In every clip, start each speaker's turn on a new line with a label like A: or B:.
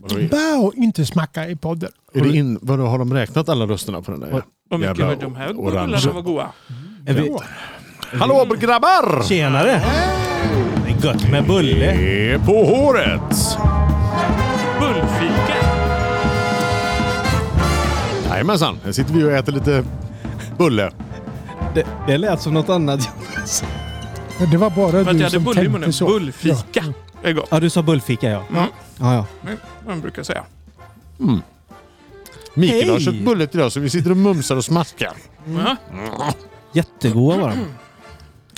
A: Vadå,
B: Bär inte smacka i podden.
A: är det in, vadå, har de räknat alla rösterna på den där?
B: Vad-
C: Vad mycket
A: Jävla
C: var de här
A: orange.
C: bullarna var goda.
D: Är vi,
A: Hallå grabbar!
D: tjenare! Det är gött med bulle.
A: Det är på håret!
C: Bullfika.
A: Jajamensan, här sitter vi och äter lite bulle.
D: Det, det lät som något annat.
B: Men Det var bara
C: För att jag
B: du
C: hade
B: som
C: bulle i
B: tänkte
C: munnen.
B: så.
C: Bullfika. Det är gott.
D: Ja, du sa bullfika ja.
C: Mm.
D: Ja, ja.
C: Men Vad man brukar säga.
A: Mikael har
D: Hej!
A: köpt bulle idag så vi sitter och mumsar och smaskar.
C: Ja.
D: Jättegoda var de.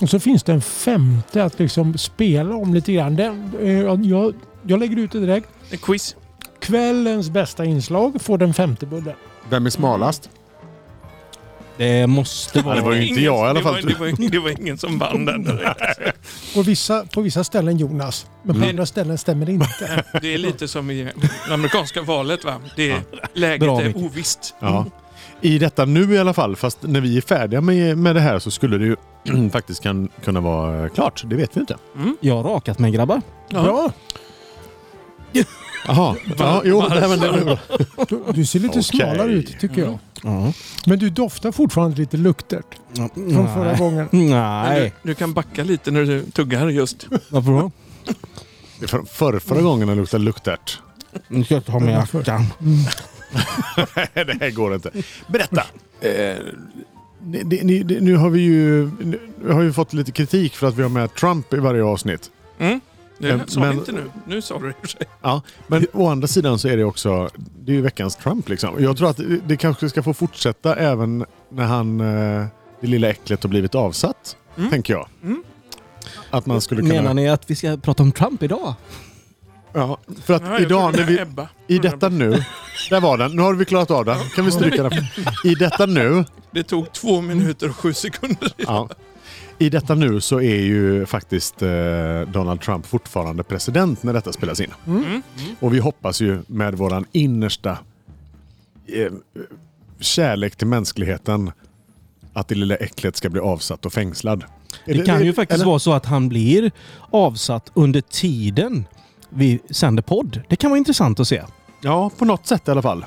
B: Och så finns det en femte att liksom spela om lite grann. Den, eh, jag, jag lägger ut det direkt.
C: En quiz.
B: Kvällens bästa inslag får den femte bullen.
A: Vem är smalast?
D: Det
A: Ja,
D: måste
A: det
D: vara...
A: var ju inte jag i alla fall.
C: Det var, det var, det var ingen som vann den. direkt.
B: På vissa, på vissa ställen Jonas, men på
C: Mm.
B: andra ställen stämmer det inte.
C: Det är lite som i det amerikanska valet. Va? Det är, läget
D: Bra,
C: är
D: Micke.
C: ovisst.
A: Ja. I detta nu i alla fall, fast när vi är färdiga med, med det här så skulle det ju faktiskt kan, kunna vara klart. Det vet vi inte.
D: Jag har rakat mig grabbar.
B: Bra!
A: Jaha, ja, jo, nej, men det var bra.
B: Du, du ser lite
A: Okej.
B: smalare ut tycker jag.
D: Ja.
B: Men du doftar fortfarande lite luktert från förra gången.
C: Men Du,
D: Nej.
C: du kan backa lite när du tuggar just.
D: Varför då?
A: Det är för, förra, förra gången det luktade luktärt.
D: Nu ska jag ta med jackan.
A: Nej, det här går inte. Berätta! Eh, ni, ni- ni, ni, nu har vi ju nu har vi fått lite kritik för att vi har med Trump i varje avsnitt.
C: Mm. Det
A: Men-
C: sa
A: men-
C: vi inte nu. Nu sa du det i och för sig.
A: Ja, men å andra sidan så är det också det är ju veckans Trump. Liksom. Jag tror att det kanske ska få fortsätta även när han, eh, det lilla äcklet har blivit avsatt.
C: Mm.
A: Tänker jag.
C: Mm.
A: Att man skulle kunna...
D: Menar ni att vi ska prata om Trump idag?
A: Ja, för att
C: Ja, jag
A: idag när
C: tror det
A: vi...
C: är Ebba.
A: I detta nu... Där var den. Nu har vi klarat av den. Kan vi stryka den? I detta nu...
C: Det tog två minuter och sju sekunder.
A: Ja. I detta nu så är ju faktiskt eh, Donald Trump fortfarande president när detta spelas in. Och vi hoppas ju med våran innersta eh, kärlek till mänskligheten att det lilla äcklet ska bli avsatt och fängslad.
D: Det kan ju faktiskt vara så att han blir avsatt under tiden vi sänder podd. Det kan vara intressant att se.
A: Ja, på något sätt i alla fall.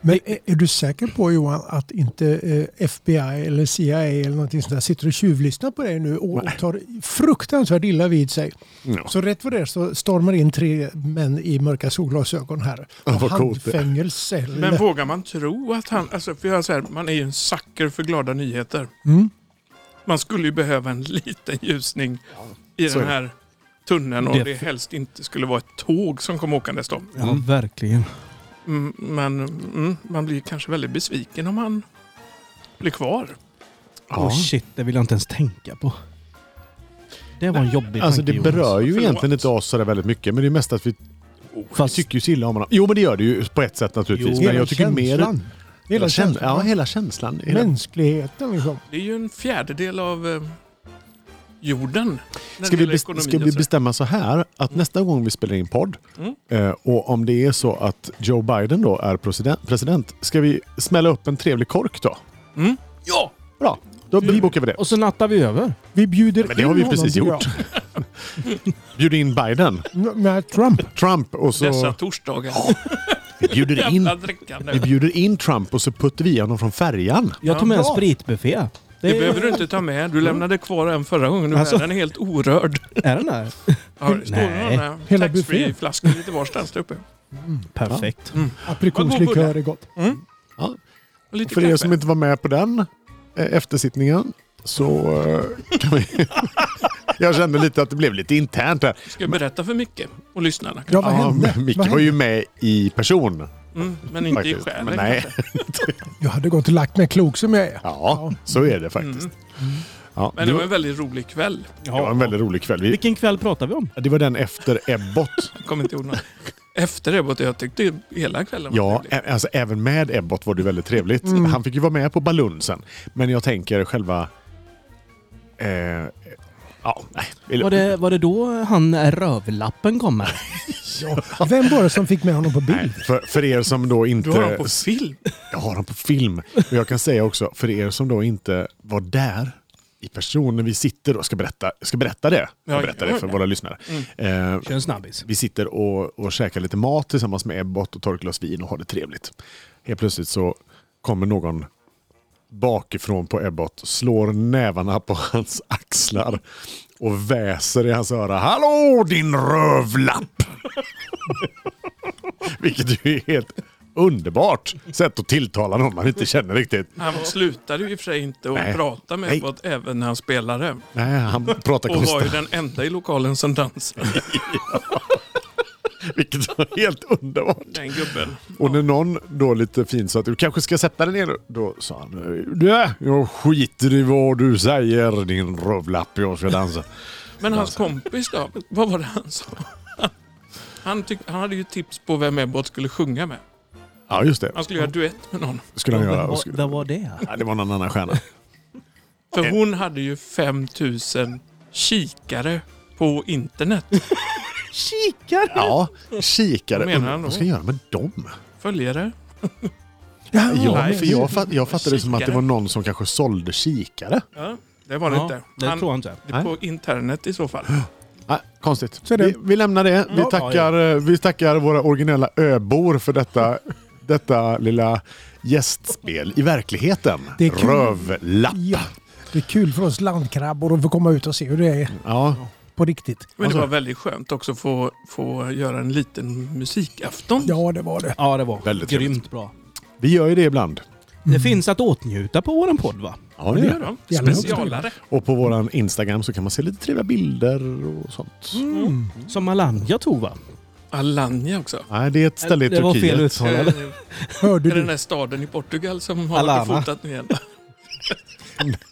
B: Men är, är du säker på Johan att inte eh, FBI eller CIA eller någonting sånt där sitter och tjuvlyssnar på dig nu och
A: Nej.
B: tar fruktansvärt illa vid sig?
A: Ja.
B: Så rätt vad det är så stormar in tre män i mörka solglasögon här.
A: Ja,
B: Och
A: vad coolt det är.
B: handfängelse. eller-
C: Men vågar man tro att han... Alltså, för jag är så här, man är ju en sucker för glada nyheter.
B: Mm.
C: Man skulle ju behöva en liten ljusning i
A: så
C: den
A: är det.
C: här tunneln och
D: Det-
C: det helst inte skulle vara ett tåg som kom åkandes då.
D: Ja, verkligen.
C: Mm, Men mm, man blir kanske väldigt besviken om han blir kvar.
A: Ja.
D: Oh shit, det vill jag inte ens tänka på. Det var en jobbig
A: Alltså
D: tanke,
A: det
D: Jonas.
A: berör ju
C: Förlåt.
A: egentligen inte oss sådär väldigt mycket, men det är mest att vi
D: Fast-
A: tycker ju så illa om honom. Jo, men det gör det ju på ett sätt naturligtvis.
D: Jo.
A: men jag tycker mer...
B: känslan. Hela känslan.
A: Ja, hela känslan. Hela-
B: Mänskligheten liksom.
C: Det är ju en fjärdedel av eh, jorden. när
A: Ska
C: det
A: vi,
C: gäller
A: bes-
C: ekonomi alltså.
A: ska
C: och
A: vi
C: så.
A: bestämma så här att nästa gång vi spelar in podd
C: Mm.
A: eh, och om det är så att Joe Biden då är president, president ska vi smälla upp en trevlig kork då?
C: Mm? Ja!
A: Bra, då
C: Mm.
A: bokar vi det.
D: Och så nattar vi över.
B: Vi bjuder
A: Men det har vi
B: in honom,
A: precis
B: tycker
A: gjort. Bjuder in Biden,
B: jag. Med Trump.
A: Trump och
C: Dessa
A: så...
C: torsdagar.
A: Vi bjuder in,
C: Jävla drickande.
A: vi bjuder in Trump och så puttar vi honom från färjan.
D: Jag
C: Ja,
D: tog med en
C: bra.
D: spritbuffé. Det,
C: Det behöver du inte ta med. Du lämnade kvar en förra gången. Nu
D: Alltså.
C: är den helt orörd.
D: Är den där?
C: Ja, det står
D: Nej.
C: några
B: Hela buffén.
C: taxfree-flaskor lite varstans där uppe.
D: Perfekt.
B: Aprikoslikör är gott.
C: Och lite
A: För
C: kaffe.
A: er som inte var med på den eh, eftersittningen så eh, kan vi... Jag kände lite att det blev lite internt här.
C: Ska jag berätta för Micke och lyssnarna?
B: Ja, vad
A: Ja,
B: hände?
A: men Micke
B: vad
A: var
B: hände?
A: ju med i person.
C: Mm, men inte i
A: Faktiskt, men
C: själen
A: nej.
C: kanske.
B: Jag hade gått och lagt mig klok som jag är.
A: Ja, så är det faktiskt. Ja,
C: Mm. Men det var en väldigt rolig kväll.
A: det var en väldigt rolig kväll. Vi,
D: Vilken kväll pratar vi om?
A: det var den efter Ebbot.
C: Jag kommer inte ihåg något. Efter det, Botte, jag tyckte hela kvällen var
A: Ja,
C: trevlig.
A: ä- alltså, även med Ebbot var det väldigt trevligt.
D: Mm.
A: Han fick ju vara med på balunsen. Men jag tänker själva... Eh, ja, nej.
D: Var det, var det då han rövlappen kommer?
B: Vem var det som fick med honom på
A: Nej,
B: bild?
A: för, för er som då inte...
C: Du har dem på film.
A: Jag har dem på film. Och jag kan säga också, för er som då inte var där i person när vi sitter och ska berätta, jag ska berätta det. Jag
C: Ja,
A: berättar
C: ja, Mm.
A: det för
C: ja.
A: våra lyssnare. Eh,
D: Kör en snabbis.
A: vi sitter och, och käkar lite mat tillsammans med Ebbot och tar ett glas vin och har det trevligt. Helt plötsligt så kommer någon bakifrån på Ebbot, slår nävarna på hans axlar och väser i hans öra. Hallå din rövlapp! Vilket ju är helt underbart sätt att tilltala någon man inte känner riktigt.
C: Han slutade ju i och för sig inte att
A: Nej.
C: prata med
A: Nej.
C: Ebbot även när han spelade.
A: Nej, han pratar
C: Och var ju
A: konstant.
C: den enda i lokalen som dansade.
A: Vilket var helt underbart.
C: Den gubben.
A: Och när någon då lite fint sa att du kanske ska sätta dig ner, då sa han du, jag skiter i vad du säger din rövlapp, jag ska dansa.
C: Men hans kompis då? Vad var det han sa? Han, tyck, han hade ju tips på vem Ebbot skulle sjunga med.
A: Ja, just det.
C: Han skulle göra duett med någon.
A: Skulle han göra.
D: Vad-
A: Och skulle-
D: Vad var det?
A: Nej, det var någon annan stjärna.
C: För hon hade ju 5000 kikare på internet.
D: Kikar!
A: Ja, kikare.
C: Vad menar han då?
A: Vad ska jag göra med dem?
C: Följare.
B: Ja,
A: Ja,
C: Nej.
A: för jag, fatt, jag fattade det som att det
C: Kikare.
A: var någon som kanske sålde kikare.
C: Ja, det var det
D: Ja,
C: inte.
D: det
C: Han,
D: tror jag inte.
C: det är på internet i så fall.
A: Nej, konstigt.
B: Så är det.
A: Vi, vi lämnar det. Vi
D: Ja,
A: tackar, eh, vi tackar våra originella öbor för detta, detta lilla gästspel i verkligheten.
B: Det är kul.
A: Rövlapp.
B: ja, det är kul för oss landkrabbor att få komma ut och se hur det är
A: Ja.
B: på riktigt.
C: Men det
A: Alltså.
C: var väldigt skönt också att få, få göra en liten musikafton.
B: Ja, det var det.
D: Ja, det var
A: Väldigt
D: grymt bra.
A: Vi gör ju det ibland.
D: Det finns att åtnjuta på våran podd, va?
A: Ja,
C: Det gör de.
B: Gärna också.
C: Specialare.
A: Och på vår Instagram så kan man se lite trevliga bilder och sånt.
B: Mm.
D: Som Alanya tog, va?
C: Alanya också.
A: Nej, det är ett ställe i
D: det var fel
A: Turkiet.
D: uttal.
C: Eh,
D: eller?
B: Hörde
C: Är det den
B: du?
C: här staden i Portugal som har
D: Alana.
C: varit och fotat nu igen?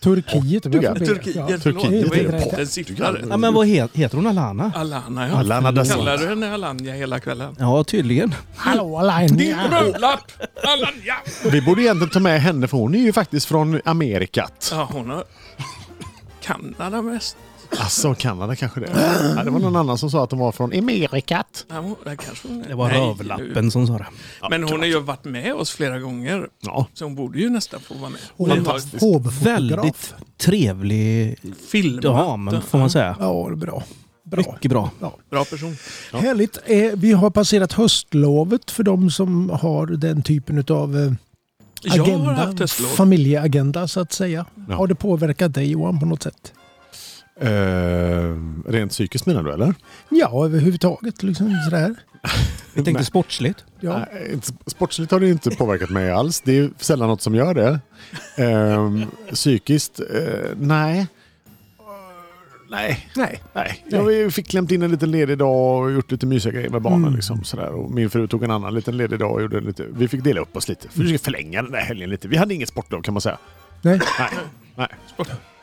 B: Turkiet? om jag får be.
C: Turkiet,
B: Ja.
C: förlåt.
A: Turkiet
C: Det var
B: är
C: inte
B: det.
C: rätt. Den siffran.
A: Portugal.
D: Ja, men vad heter, heter hon Alana?
C: Alana, ja.
A: Alana da
C: Kallar
A: Silva.
C: du henne Alanya hela kvällen?
D: Ja, tydligen.
B: Hallå,
C: Din
B: Alanya!
C: brödlapp! Alanya!
A: Vi borde egentligen ta med henne för hon är ju faktiskt från Amerikat.
C: Ja, hon har... Kanada mest.
A: Alltså Kanada kanske det. Ja, det var någon annan som sa att de var från Amerikat.
C: Ja, hon- det kanske hon är.
D: Det var
C: Nej,
D: rövlappen som sa det.
C: nu. Men hon har ju varit med oss flera gånger.
A: Ja.
C: Så hon borde ju nästan få vara med.
B: Och en
A: Fantastiskt.
B: hovfotograf.
D: Väldigt trevlig
C: Filmat.
D: dam, får man säga.
B: Ja, det är bra. Bra.
D: Mycket bra.
C: Bra person.
B: Härligt. Eh, vi har passerat höstlovet för de som har den typen av eh,
C: Jag har haft
B: agenda,
C: höstlov.
B: familjeagenda så att säga.
A: Ja.
B: Har det påverkat dig Johan på något sätt?
A: Eh, rent psykiskt menar du eller?
B: Ja, överhuvudtaget liksom sådär.
D: Vi tänkte
A: Nej.
D: sportsligt.
B: Ja.
A: Nej, Eh, inte- Sportsligt har det inte påverkat mig alls. Det är sällan något som gör det. Ehm, psykiskt? eh, nej. Eh, nej.
B: Nej.
A: Nej. Jag fick klämt in en liten ledig dag och gjort lite mysiga grejer med barnen.
B: Mm.
A: Liksom, sådär. Och min fru tog en annan liten ledig dag och gjorde lite... Vi fick dela upp oss lite. Vi försökte förlänga den där helgen lite. Vi hade inget sportlov kan man säga.
B: Nej.
A: Nej. nej.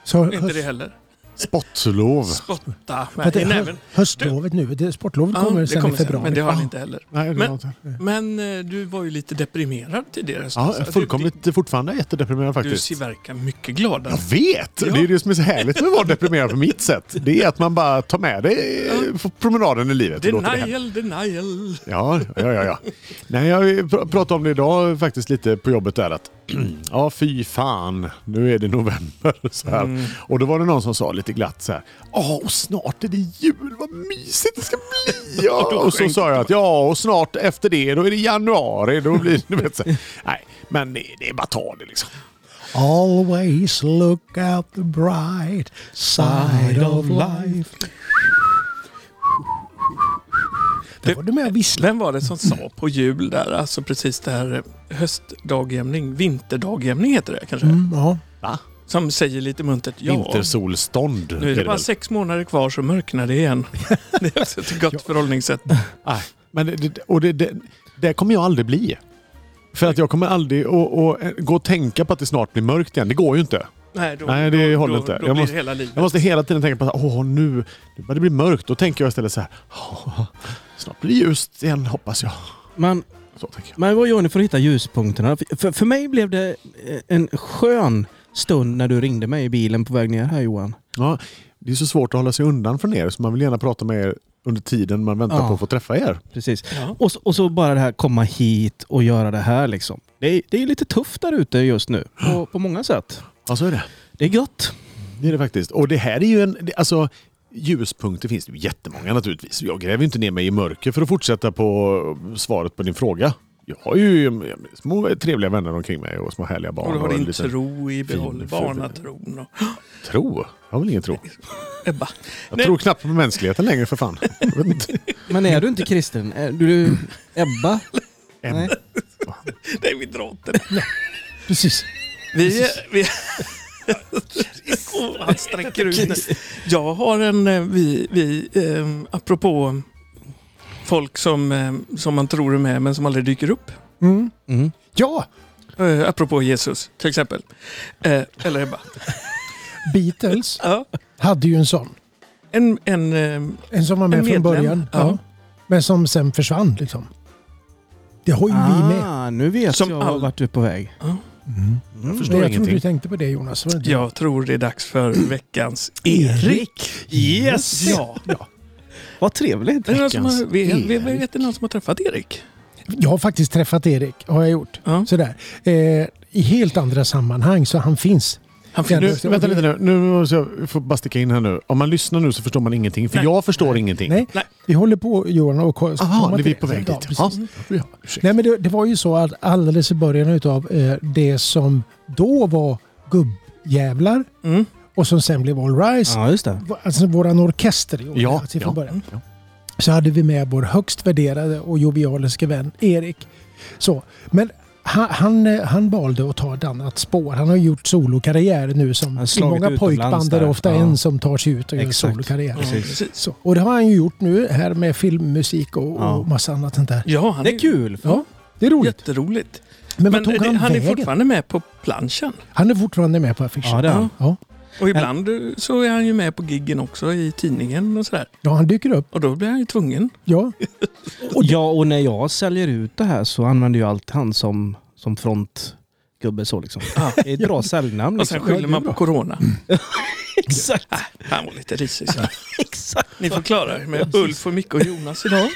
B: Så
C: Inte det heller.
A: Sportlov.
C: Spotta
B: För
C: med
B: att det
C: i
B: är
C: näven.
B: hö- höstlovet nu. Det, sportlovet
C: Ja,
B: kommer
C: det
B: sen
C: kommer
B: i
C: sen,
B: februari.
C: men det har han inte heller.
A: Nej, det var
C: Men-
A: inte.
C: Men eh, du var ju lite deprimerad tidigare. så-
A: Ja,
C: så att du-
A: fullkomligt fortfarande jättedeprimerad
C: Alltså, Du, du
A: faktiskt.
C: ser verkar mycket gladare.
A: Jag vet! Det är det som är så härligt med att vara deprimerad på mitt sätt. Det är att man bara tar med det eh, på promenaden i livet. och låter det hända.
C: Denial, denial.
A: ja, ja, ja, ja. Nej, jag pr- pratade om det idag faktiskt lite på jobbet där att ja, fy fan, nu är det november. Så här.
C: Mm.
A: Och då var det någon som sa lite glatt så här, ja, och snart är det jul, vad mysigt det ska bli. Ja. Och så sa jag att ja, och snart efter det, då är det januari, då blir det, du vet, så här. Nej, men det, det är bara att ta det liksom.
B: Always look at the bright side of life. Där var du med och visslade.
C: Vem var det som sa på jul där, alltså precis det här eh, höstdagjämning, vinterdagjämning heter det kanske?
B: Mm, ja.
C: Som säger lite muntert, ja,
A: Vintersolstånd
C: nu är det bara
A: väl?
C: sex månader kvar så mörknar det igen. det är också ett gott förhållningssätt.
A: Nej, men det- det, och det, det, det kommer jag aldrig bli. För att jag kommer aldrig att att, eh, gå och tänka på att det snart blir mörkt igen. Det går ju inte.
C: Nej, då,
A: Nej, det håller
C: då,
A: inte.
C: Då
A: Jag
C: blir
A: måste-
C: det hela livet.
A: Jag måste hela tiden tänka på att åh, nu nu börjar det bli mörkt. Då tänker jag istället så här. "Åh, Snart blir det ljust igen hoppas jag.
D: Men,
A: Så tänker jag.
D: men vad gör ni för att hitta ljuspunkterna? För, för, för mig blev det eh, en skön stund när du ringde mig i bilen på väg ner här Johan.
A: Ja, det är så svårt att hålla sig undan från er så man vill gärna prata med er under tiden man väntar
D: Ja.
A: på att få träffa er.
D: Precis.
C: Ja.
D: Och, så, och så bara det här komma hit och göra det här liksom. Det är, det är lite tufft där ute just nu på, på många sätt.
A: Ja, så är det.
D: Det är gött.
A: Det är det faktiskt. Och det här är ju en... det- Alltså, ljuspunkter finns det ju jättemånga naturligtvis. Jag gräver ju inte ner mig i mörker för att fortsätta på svaret på din fråga. Jag har ju eh, små trevliga vänner omkring mig och små härliga barn.
C: Och du har
A: en
C: din
A: liten
C: tro i behåll,
A: fin-
C: barnatron och
A: tro. Jag har väl ingen tro.
C: Ebba.
A: Jag
C: Nej.
A: tror knappt på mänskligheten längre för fan. Jag vet inte.
D: Men är du inte kristen? Är du Ebba? Nej,
C: Nej, vi drar åt det.
D: precis.
C: Vi... vi... Åh, han sträcker ut det. Jag har en... eh, Vi, vi, eh, apropå folk som, eh, som man tror är med men som aldrig dyker upp.
B: Mm.
D: Mm.
B: Ja,
C: Eh, apropå Jesus till exempel. Eh, eller Ebba.
B: Beatles
C: Ja.
B: hade ju en sån.
C: En, en, eh,
B: En som var med
C: En
B: från
C: medlem,
B: början.
C: ja.
B: Men som sen försvann liksom. Det har ju vi med.
D: Ah, nu vet
C: Som
D: jag
C: all-
D: vart du är på väg.
B: Mm.
D: Mm.
A: förstår.
B: Men jag
A: ingenting.
B: tror du tänkte på det Jonas. Var det inte?
C: jag tror det är dags för veckans Erik.
D: Yes!
C: Ja.
D: Vad trevligt.
C: Är det någon som har,
A: Veckans
C: vi, vi
A: Erik.
C: vet det någon som har träffat Erik?
B: Jag har faktiskt träffat Erik, har jag gjort.
C: Ja.
B: Sådär. Eh, I helt andra sammanhang, så han finns.
C: Han fick,
A: Nu, vänta lite nu. Nu måste jag få bara sticka in här nu. Om man lyssnar nu så förstår man ingenting. För
C: Nej.
A: jag förstår ingenting.
B: Nej,
C: Nej.
B: vi håller på Johan och ko-
A: Aha,
B: komma
A: nu
B: till
A: är vi på
B: det.
A: väg
B: Ja,
A: dit.
B: precis.
A: Ja, ja, ursäkta.
B: Nej, men det, det var ju så att alldeles i början utav eh, det som då var gubbjävlar
C: mm.
B: och som sen blev All Rise.
D: Ja, just det.
B: va- Alltså våran orkester. gjorde
A: Ja,
B: det, alltså,
A: ja,
B: från början. Så hade vi med vår högst värderade och jovialiska vän Erik. Så, men han, han, eh, han valde att ta ett annat spår. Han har gjort solokarriär nu som
D: har
B: i
D: slagit
B: många
D: utomlands
B: pojkband är det
D: där.
B: ofta
D: Ja.
B: en som tar sig ut och gör
D: Exakt.
B: solokarriär.
C: Ja,
D: Precis.
C: precis.
B: Så, och det har han ju gjort nu här med filmmusik och,
D: Ja.
B: och massa annat sånt där.
C: Ja, han
D: Det är kul.
B: Ja, det är roligt.
C: Jätteroligt.
B: Men,
C: Men
B: vad tog
C: det-
B: han,
C: han är
B: vägen?
C: fortfarande med på planschen.
B: han är fortfarande med på affischen.
D: Ja, det är han.
B: Ja.
C: Och ibland eh, så är han ju med på giggen också i tidningen och sådär.
B: ja, han dyker upp.
C: Och då blir han ju tvungen.
B: Ja.
D: Och ja, och när jag säljer ut det här så använder jag allt han som, som frontgubbe. Så liksom.
C: Ja.
D: Det är ett bra säljnamn.
C: Och
D: Liksom.
C: sen skyller man på corona.
D: Exakt,
C: Han var lite risig. så.
D: exakt.
C: Ni får klara er med Ulf och Micke och Jonas idag.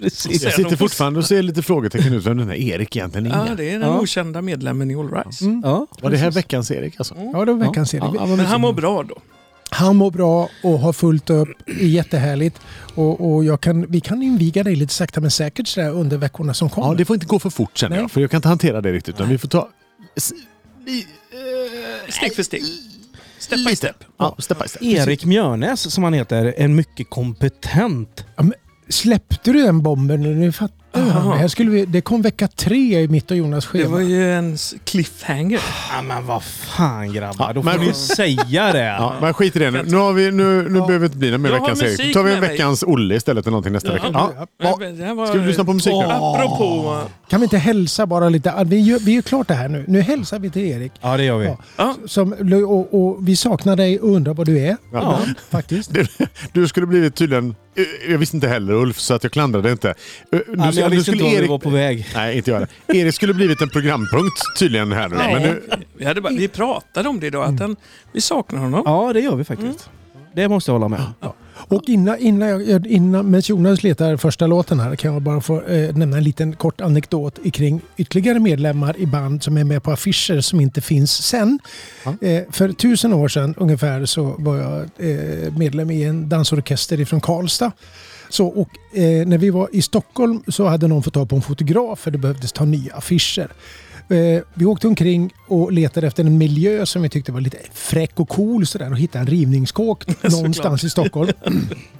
D: Precis.
A: Jag sitter fortfarande och ser lite frågetecken ut vem den här Erik egentligen är.
C: Ja, det är den
D: Ja.
C: okända medlemmen i All Rise.
B: Mm.
D: Ja,
A: Var det här veckans Erik alltså?
B: Ja, det var veckans Erik.
A: Ja,
C: Men han mår bra då.
B: Han mår bra och har fullt upp. Det är jättehärligt. Och, och jag kan, vi kan inviga dig lite sakta men säkert sådär under veckorna som kommer.
A: Ja, det får inte gå för fort känner
B: Nej.
A: jag. För jag kan inte hantera det riktigt. Utan vi får ta... S- li- eh,
C: Steg för steg. Step by
A: Lite.
C: step.
A: Ja, step by step.
D: Erik Mjörnäs som han heter är mycket kompetent.
B: Ja, men Släppte du den bomben? eller? Nu fattar jag.
C: Aha.
B: Här skulle vi, det kom vecka tre i mitt och Jonas
C: Det
B: schema.
C: var ju en s- cliffhanger.
D: Ja, Ah, men vad fan grabbar,
A: Ja,
D: då får
A: men-
D: ni säga det.
A: Ja, men skit i det nu. Nu, har vi, nu, nu behöver det inte bli någon mer
C: Jag har
A: veckans Erik. Nu
C: musik
A: tar vi en
C: med mig.
A: veckans Olle istället eller någonting nästa
C: Ja.
A: vecka. Ja.
C: Men-
A: Ja.
C: men det här var-
A: Ska vi lyssna på musik nu?
C: Apropå...
B: Kan vi inte hälsa bara lite? Ah, Vi gör, vi gör klart det här nu. Nu hälsar vi till Erik.
D: Ja, det gör vi.
B: Ja.
C: Ja,
B: Som, och, och vi saknar dig och undrar vad du är.
A: Ja.
B: Faktiskt.
A: Du, du skulle blivit tydligen... eh, Jag visste inte heller Ulf, så att jag klandrade inte. Eh, Nu,
D: Ja, men
A: skulle-
D: jag
A: nu
D: visste
A: skulle
D: inte var vi
A: Erik-
D: var på väg.
A: Nej, inte jag heller. Erik skulle blivit en programpunkt tydligen här nu.
C: Nej.
A: Men nu
C: vi, hade bara, vi pratade om det idag, att den, vi saknar honom.
D: Ja, det gör vi faktiskt. Det måste jag hålla med om.
B: Och innan, innan, jag, innan medan Jonas letar första låten här kan jag bara få eh, nämna en liten kort anekdot kring ytterligare medlemmar i band som är med på affischer som inte finns sen.
A: Ja.
B: Eh, för tusen år sedan ungefär så var jag eh, medlem i en dansorkester ifrån Karlstad. Så, och, eh, när vi var i Stockholm så hade någon fått tag på en fotograf för det behövdes ta nya affischer. Eh, vi åkte omkring och letade efter en miljö som vi tyckte var lite fräck och cool sådär, och hittade en rivningskåk någonstans i Stockholm.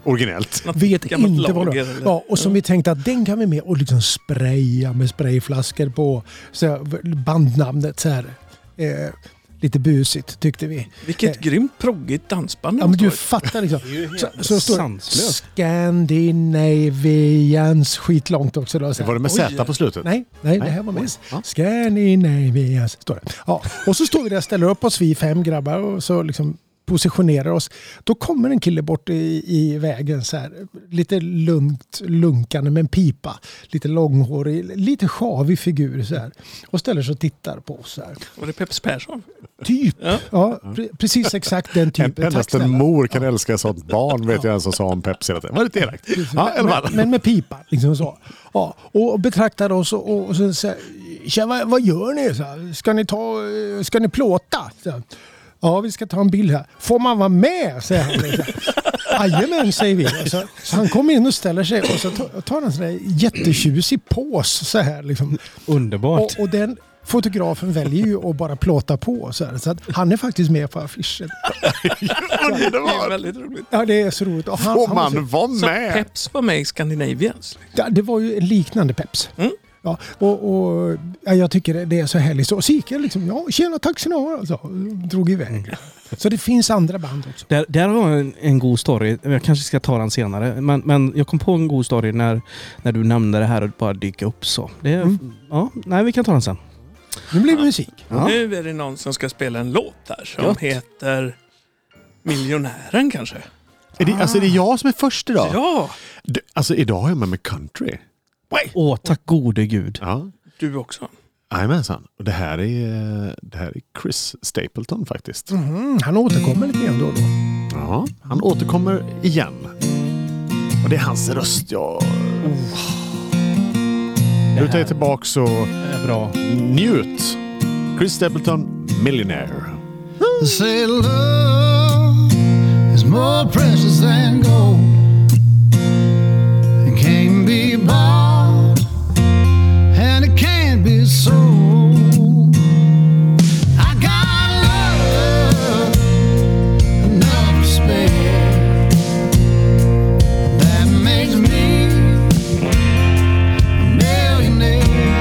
A: originellt.
B: Vet
C: gammalt
B: inte vad det
C: lager
B: var.
C: eller-
B: Ja, och som vi tänkte att den kan vi med och liksom spraya med sprayflaskor på så här, bandnamnet så här. Eh, lite busigt tyckte vi.
C: Vilket
B: Eh.
C: grymt proggigt dansband
B: Ja,
C: han
B: men du
C: står i.
B: fattar liksom. Så, så står det
D: sanslöst.
B: Scandinavians skitlångt också. Då, så
A: Det
B: här.
A: var det med Z
C: Oj.
A: på slutet.
B: Nej, nej, det
A: Nej.
B: här var
A: Oj.
B: mest.
A: Ja.
B: Scandinavians, står det. Ja, och så står vi där och ställer upp oss, vi fem grabbar, och så liksom positionerar oss. Då kommer en kille bort i, i vägen så här, lite lugnt, lunkande med en pipa. Lite långhårig, lite sjavig figur så här. Och ställer sig och tittar på oss så här.
C: Var det Peps Persson?
B: Typ,
C: Ja.
B: ja, pre- precis exakt den
A: En,
B: typen. Tack
A: endast en
B: snälla.
A: mor kan älska ett sånt barn vet jag en som sa om Pepsi hela tiden. Var det inte elakt? Ja, i alla fall.
B: men, men med pipa. Liksom så. Ja, och betraktade oss och, och, och så, så här, "Tja, vad, vad gör ni? Så här, ska ni, ta, eh, ska ni plåta? Så här. Ja, vi ska ta en bild här. Får man vara med? säger han. liksom. Jajamän, säger vi. Och Så, så han kommer in och ställer sig och så tar tar han en sån där jättetjusig pås så här. Liksom.
D: Underbart.
B: Och, och den fotografen väljer ju att bara plåta på. Så, här, så att han är faktiskt med på affischen.
C: Det är
A: Underbart!
C: väldigt roligt.
B: Ja, det är så roligt. Och han,
A: Får
B: han var så-
A: man vara
C: Så
A: med?
C: Peps var med i Scandinavians.
B: Ja, det var ju en liknande Peps.
C: Mm.
B: Ja, och, och, ja, jag tycker det- det är så härligt. Så, och så gick jag liksom, ja, tjena, tack ska ni ha. Alltså, och drog iväg.
A: Mm.
B: Så det finns andra band också.
D: Där, där har jag en, en god story. Jag kanske ska ta den senare. Men, men jag kom på en god story när, när du nämnde det här och bara dyka upp så. Det,
A: Mm.
D: ja, nej, vi kan ta den sen.
B: Nu blir det musik.
D: Ja.
C: Nu är det någon som ska spela en låt där som
D: Gött.
C: heter Miljonären kanske?
A: Är det, alltså är det jag som är först idag?
C: Ja,
A: Du, alltså idag är jag med med country.
D: Åh, tack gode gud.
A: Ja.
C: du också.
A: Jajamensan. Och det här är, eh, det här är Chris Stapleton faktiskt.
B: Mm, han återkommer lite grann då och då.
A: Ja, han återkommer igen. Och det är hans röst jag...
B: Oh.
A: Nu tar jag tillbaka så
D: är bra.
A: njut. Chris Stapleton, Millionaire.
E: Say love is more precious than gold It can't be bought and it can't be sold I got love enough to spare That makes me a millionaire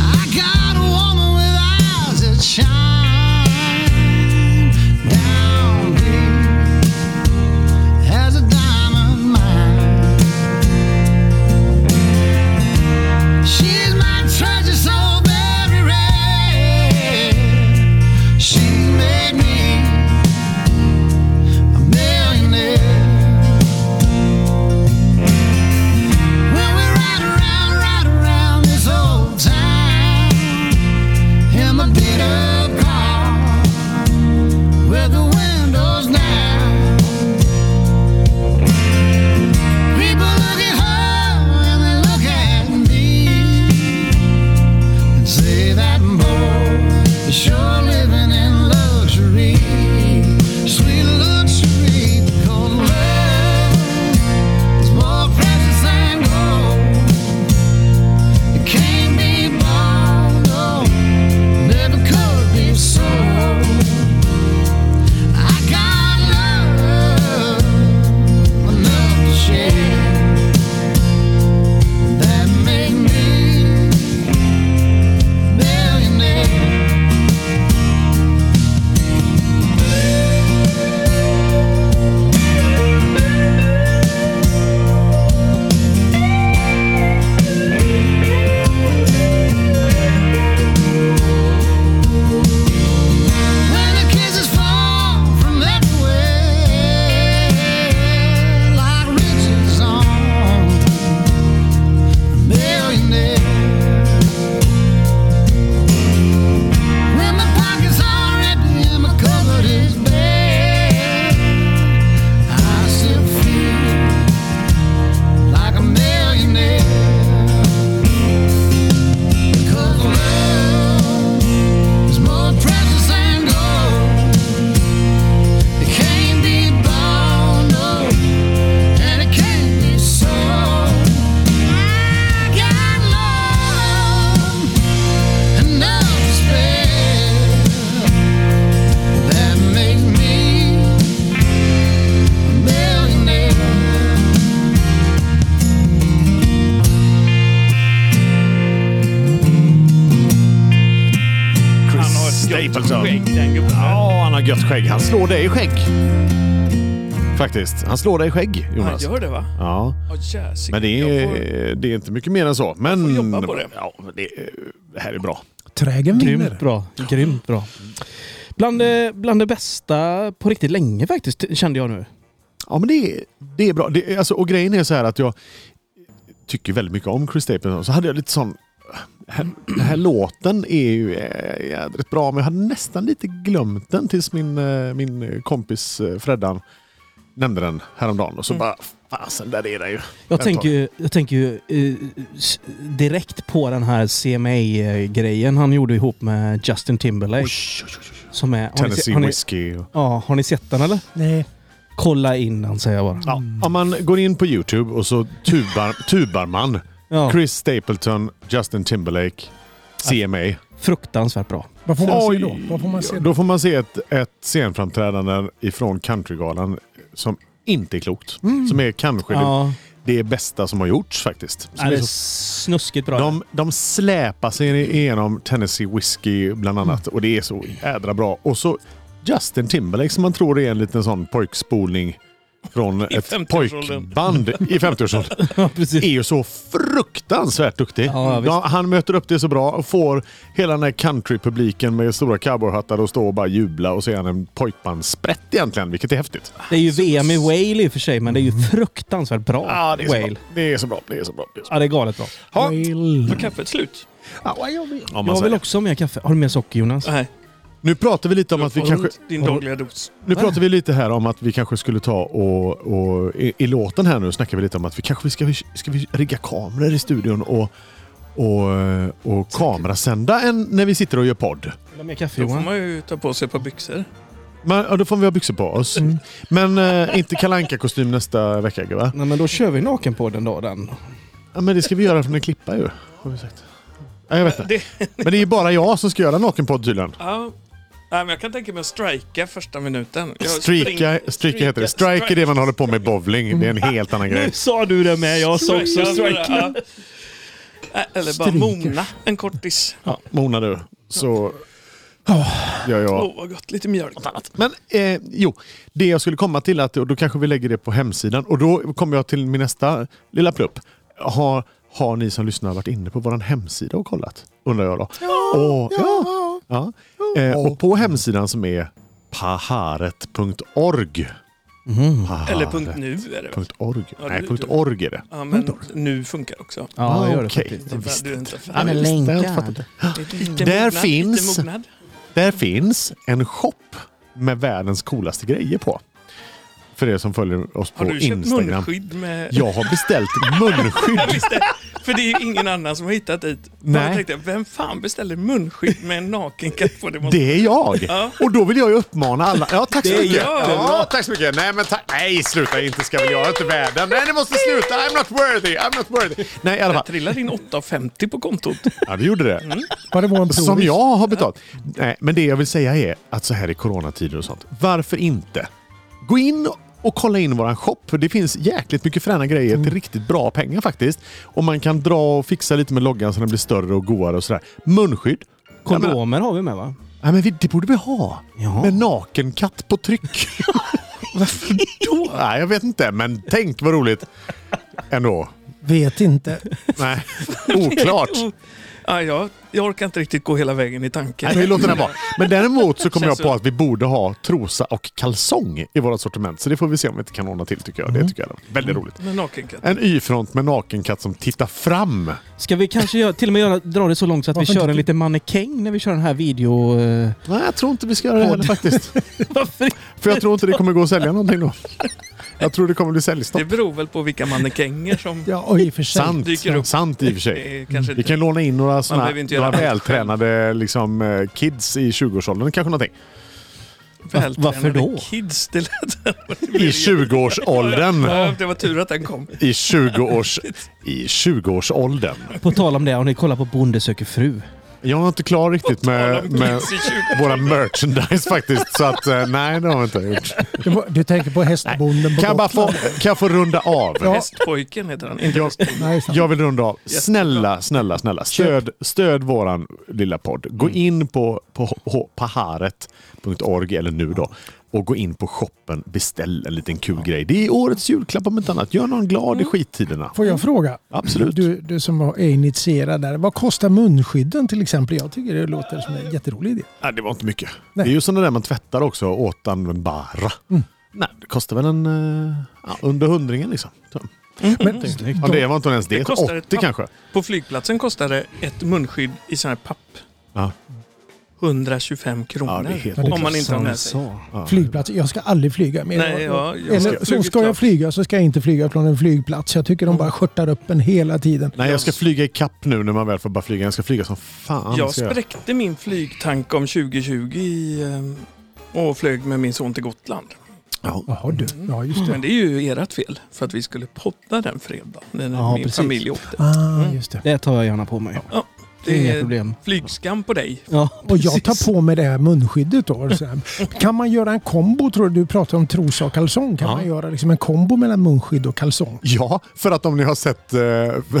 E: I got a woman with eyes that shine down deep as a diamond mine. She's my treasure, so very rare. She made me a millionaire. When we ride around, ride around this old town in my beat up car with the windows down. People look at her and they look at me and say that boy is sure living in luxury, sweet luxury, 'cause love is more precious than gold. It can't be bought, no, never could be sold. I got love enough to share. That made me a millionaire. When the kisses fall from everywhere, like riches on a millionaire. When my pockets are empty and my cupboard is bare, I still feel like a millionaire. Because love is more precious than gold. It can't be bought, no, and it can't be sold. I got love enough to spare that makes me a millionaire.
A: Chris
C: Han har ett gött
A: Stapleton.
C: skägg, den gubben.
A: Ja, han har gött skägg. Han slår dig i skägg. Faktiskt. Han slår dig i skägg,
C: Han
A: Jonas.
C: gör det va?
A: Ja,
C: Ja, jäsigt.
A: men det
C: Jag får-
A: är, det är inte mycket mer än så. Men
C: får jobba på det.
A: Ja, men det, det här är bra.
B: Trägen vinner.
D: Grymt bra. Grymt bra. Bland, det- bland det bästa på riktigt länge faktiskt, kände jag nu.
A: Ja, men det, är- det är bra. Det, är- alltså, och grejen är så här att jag tycker väldigt mycket om Chris Stapleton. Så hade jag lite sån... här- Den här låten är ju eh, jädrigt bra, men jag hade nästan lite glömt den tills min, eh, min kompis eh, Freddan nämnde den häromdagen och så bara fasen där är den ju. Den
D: Jag tänker, ju- jag tänker ju eh, s- direkt på den här CMA-grejen han gjorde ihop med Justin Timberlake. Som är...
A: tar-
D: Har ni, se-
A: Tennessee
D: har, ni,
A: Whiskey. Och...
D: ja, har ni sett den eller?
B: Nej.
D: Kolla in den säger jag bara.
A: Ja, om man går in på Youtube och så tubar, tubar man
D: Ja,
A: Chris Stapleton, Justin Timberlake, CMA.
D: fruktansvärt bra.
B: Vad får man
A: Oj.
B: se då? Vad får man se då?
A: Då får man se ett, ett scenframträdande ifrån Countrygalan som inte är klokt.
B: Mm.
A: Som är kanske
D: Ja,
A: det, det bästa som har gjorts faktiskt. Som
D: ja, det
A: är
D: är
A: så-
D: snuskigt bra.
A: de, de släpar sig igenom Tennessee Whiskey bland annat
B: Mm.
A: och det är så jädra bra. Och så Justin Timberlake som man tror är en liten sån pojkspolning från ett
C: 50-årsåldern.
A: pojkband i 50-årsåldern
D: ja, precis.
A: är ju så fruktansvärt duktig.
D: Ja, ja, visst.
A: De- han möter upp det så bra och får hela den här countrypubliken med stora cowboyhattar och stå och bara jubla och så är han en pojkbandssprätt egentligen, vilket är häftigt.
D: Det är ju VM i Wale i och för sig, men det är ju fruktansvärt bra.
A: Ja, det, är så bra.
D: Wale.
A: det är så bra. Det är så bra. Det är så bra.
D: Ja, det är galet bra.
A: Ja,
C: Var kaffet slut?
A: om man
D: Jag vill
A: säger.
D: också ha mer kaffe. Har du mer socker Jonas?
C: Nej.
A: Nu pratar vi lite om att vi kanske...
C: Din dagliga dos.
A: Nu pratar vi lite här om att vi kanske skulle ta och... och i, I låten här nu snackar vi lite om att vi kanske vi ska, vi ska vi rigga kameror i studion och... Och, eh, och kamerasända en, när vi sitter och gör podd.
D: Vill du ha mer kaffe
C: Då får
D: Johan?
C: man ju ta på sig ett par byxor.
A: Men, ja, då får vi ha byxor på oss. Men eh, inte kalanka kostym nästa vecka, va?
D: Nej men då kör vi naken på den då den.
A: Ja, men det ska vi göra från en klippa ju. Har vi sagt. Ja, jag vet inte. Men det är ju bara jag som ska göra nakenpodd tydligen.
C: Ja. Nej, men jag kan tänka mig att strika första minuten. Jag
A: Streaka,
C: springer-
A: streaka heter det. Strike är det man håller på med i bowling. Det är en helt annan grej.
D: sa du det med, jag sa också strike.
C: Ja. Nej, Eller bara
D: Striker.
C: mona en kortis. Åh,
A: Mona du, så gör jag.
C: vad gott. Lite mjölk.
A: Men eh, jo, det jag skulle komma till, att, och då kanske vi lägger det på hemsidan. Och då kommer jag till min nästa lilla plupp. Har, har ni som lyssnar varit inne på vår hemsida och kollat? Undrar jag då. och, ja, ja. Eh, och på hemsidan som är paharet.org. Paharet.
C: Eller punkt nu är det väl?
A: Punkt org.
C: Ja,
A: Nej,
C: du-
A: punkt
C: du-
A: org är det.
C: Ja, men nu funkar också.
D: Ja, det gör det
A: Okej.
D: faktiskt.
C: Du är inte för-
A: men visst, jag har inte fattat det.
C: Lite
A: Där
C: mognad,
A: finns-
C: lite mognad.
A: Där finns en shop med världens coolaste grejer på. För er som följer oss på
C: Har du köpt
A: Instagram.
C: munskydd med...
A: Jag har beställt munskydd.
C: Visst det? För det är ju ingen annan som har hittat dit.
A: Nej.
C: Jag tänkte, jag, vem fan beställer munskydd med en naken katt på? Det måste...
A: Det är jag.
C: Ja.
A: Och då vill jag ju uppmana alla. Ja, tack så
C: Det är
A: mycket.
C: jättebra.
A: Ja, tack så mycket. Nej, men tack. Nej, sluta. Inte ska väl jag. Inte världen. Nej, ni måste sluta. I'm not worthy. I'm not worthy. Nej, i alla
C: Jag
A: fall.
C: trillade in 8,50 på kontot.
A: Ja, det gjorde det.
B: Var det våran
A: Som
B: provis?
A: jag har betalt. Nej, men det jag vill säga är att så här i coronatider och sånt, varför inte? Gå in och kolla in våran shop, för det finns jäkligt mycket fräna grejer
C: Mm.
A: till riktigt bra pengar faktiskt. Och man kan dra och fixa lite med loggan så den blir större och godare och sådär. Munskydd. Jag menar-
D: Kondomer har vi med va?
A: Nej, men vi- det borde vi ha.
D: Ja.
A: Med nakenkatt på tryck. Varför då? Oh, Nej, jag vet inte, men tänk vad roligt. Ändå.
B: Vet inte.
A: Nej, oklart.
C: Ja, jag, jag orkar inte riktigt gå hela vägen i tanken.
A: Nej, vi låter den vara. Men däremot så kommer jag
C: Känns
A: på
C: så.
A: att vi borde ha trosa och kalsong i våra sortiment. Så det får vi se om vi inte kan ordna till tycker jag.
C: Mm.
A: Det tycker jag är väldigt roligt.
C: Med nakenkatt.
A: En Y-front med nakenkatt som tittar fram.
D: Ska vi kanske göra, till och med göra, dra det så långt så att vi
B: Varför
D: kör
B: inte?
D: en liten mannekäng när vi kör den här video... eh,
A: Nej, jag tror inte vi ska göra det heller faktiskt.
D: Varför?
A: För jag tror inte det kommer gå att sälja någonting då. Jag tror det kommer bli säljstopp.
C: Det beror väl på vilka mannekänger som...
B: Ja, och i och för sig.
A: Sant.
C: dyker upp.
A: Sant i och för sig.
C: Det är kanske
A: Vi
C: inte...
A: kan låna in några, såna,
C: behöver inte
A: några
C: göra allt själv.
A: vältränade liksom, eh, kids i 20-årsåldern kanske någonting.
C: vältränade
D: varför då?
C: Kids, det lät...
A: I Eh, 20-årsåldern.
C: Ja, det var tur att den kom.
A: I 20-års... I 20-årsåldern.
D: På tal om det, om ni kollar på Bonde söker fru.
A: Jag är inte klar riktigt med, med
C: Kids i 20.
A: våra merchandise faktiskt. Så att eh, nej, det har vi inte gjort.
B: Du, var- du tänker på hästbonden på
A: Kan jag, bara få,
B: Gotland.
A: kan jag få runda av?
B: Ja.
C: Hästpojken heter han. Inte
A: Jag,
B: Nej, sant.
A: jag vill runda av. Snälla, snälla, snälla. Stöd, stöd våran lilla podd. Gå
B: Mm.
A: in på, på, på paharet.org, eller nu då, och gå in på shoppen. Beställ en liten kul grej. Det är årets julklapp om inte annat. Gör någon glad i skittiderna.
B: Mm. Får jag fråga?
A: Absolut.
B: Du, du som är initierad där. Vad kostar munskydden till exempel? Jag tycker det låter som en jätterolig idé.
A: Nej, Mm. det var inte mycket.
B: Nej.
A: Det är ju sådana där man tvättar också, återanvändbara. Nej, det kostar väl en... eh, Ja, under hundringen liksom.
B: Men,
D: Snyggt.
A: Ja, det var inte ens det.
C: Det kostar ett
A: 80
C: papp.
A: kanske.
C: På flygplatsen kostade ett munskydd i sån här papp.
A: Ja.
C: 125 kronor.
A: Ja, det är helt
C: om man inte har med sig.
D: Så.
A: Ja.
B: Flygplats, jag ska aldrig flyga mer.
C: Nej, ja, jag
B: Eller,
C: ska-
B: så ska jag flyga så ska jag inte flyga från en flygplats. Jag tycker de bara skörtar upp en hela tiden.
A: Nej, jag ska flyga i kapp nu när man väl får bara flyga. Jag ska flyga som fan.
C: Jag
A: ska jag.
C: spräckte min flygtank om 2020 i, eh, och flög med min son till Gotland.
B: Jaha du, ja just det.
C: Men det är ju ert fel, för att vi skulle podda den fredagen när
D: Ja,
C: min
D: precis.
C: familj åkte.
B: Ah, just det.
D: Det tar jag gärna på mig.
C: Det
D: Inga
C: är
D: problem.
C: flygskam på dig.
D: Ja,
B: Och jag
D: precis.
B: tar på mig det här munskyddet då. Så här. Kan man göra en kombo tror du? Du pratar om trosa och kalsong. Kan
A: Ja.
B: man göra liksom en kombo mellan munskydd och kalsong?
A: Ja, för att om ni har sett... eh,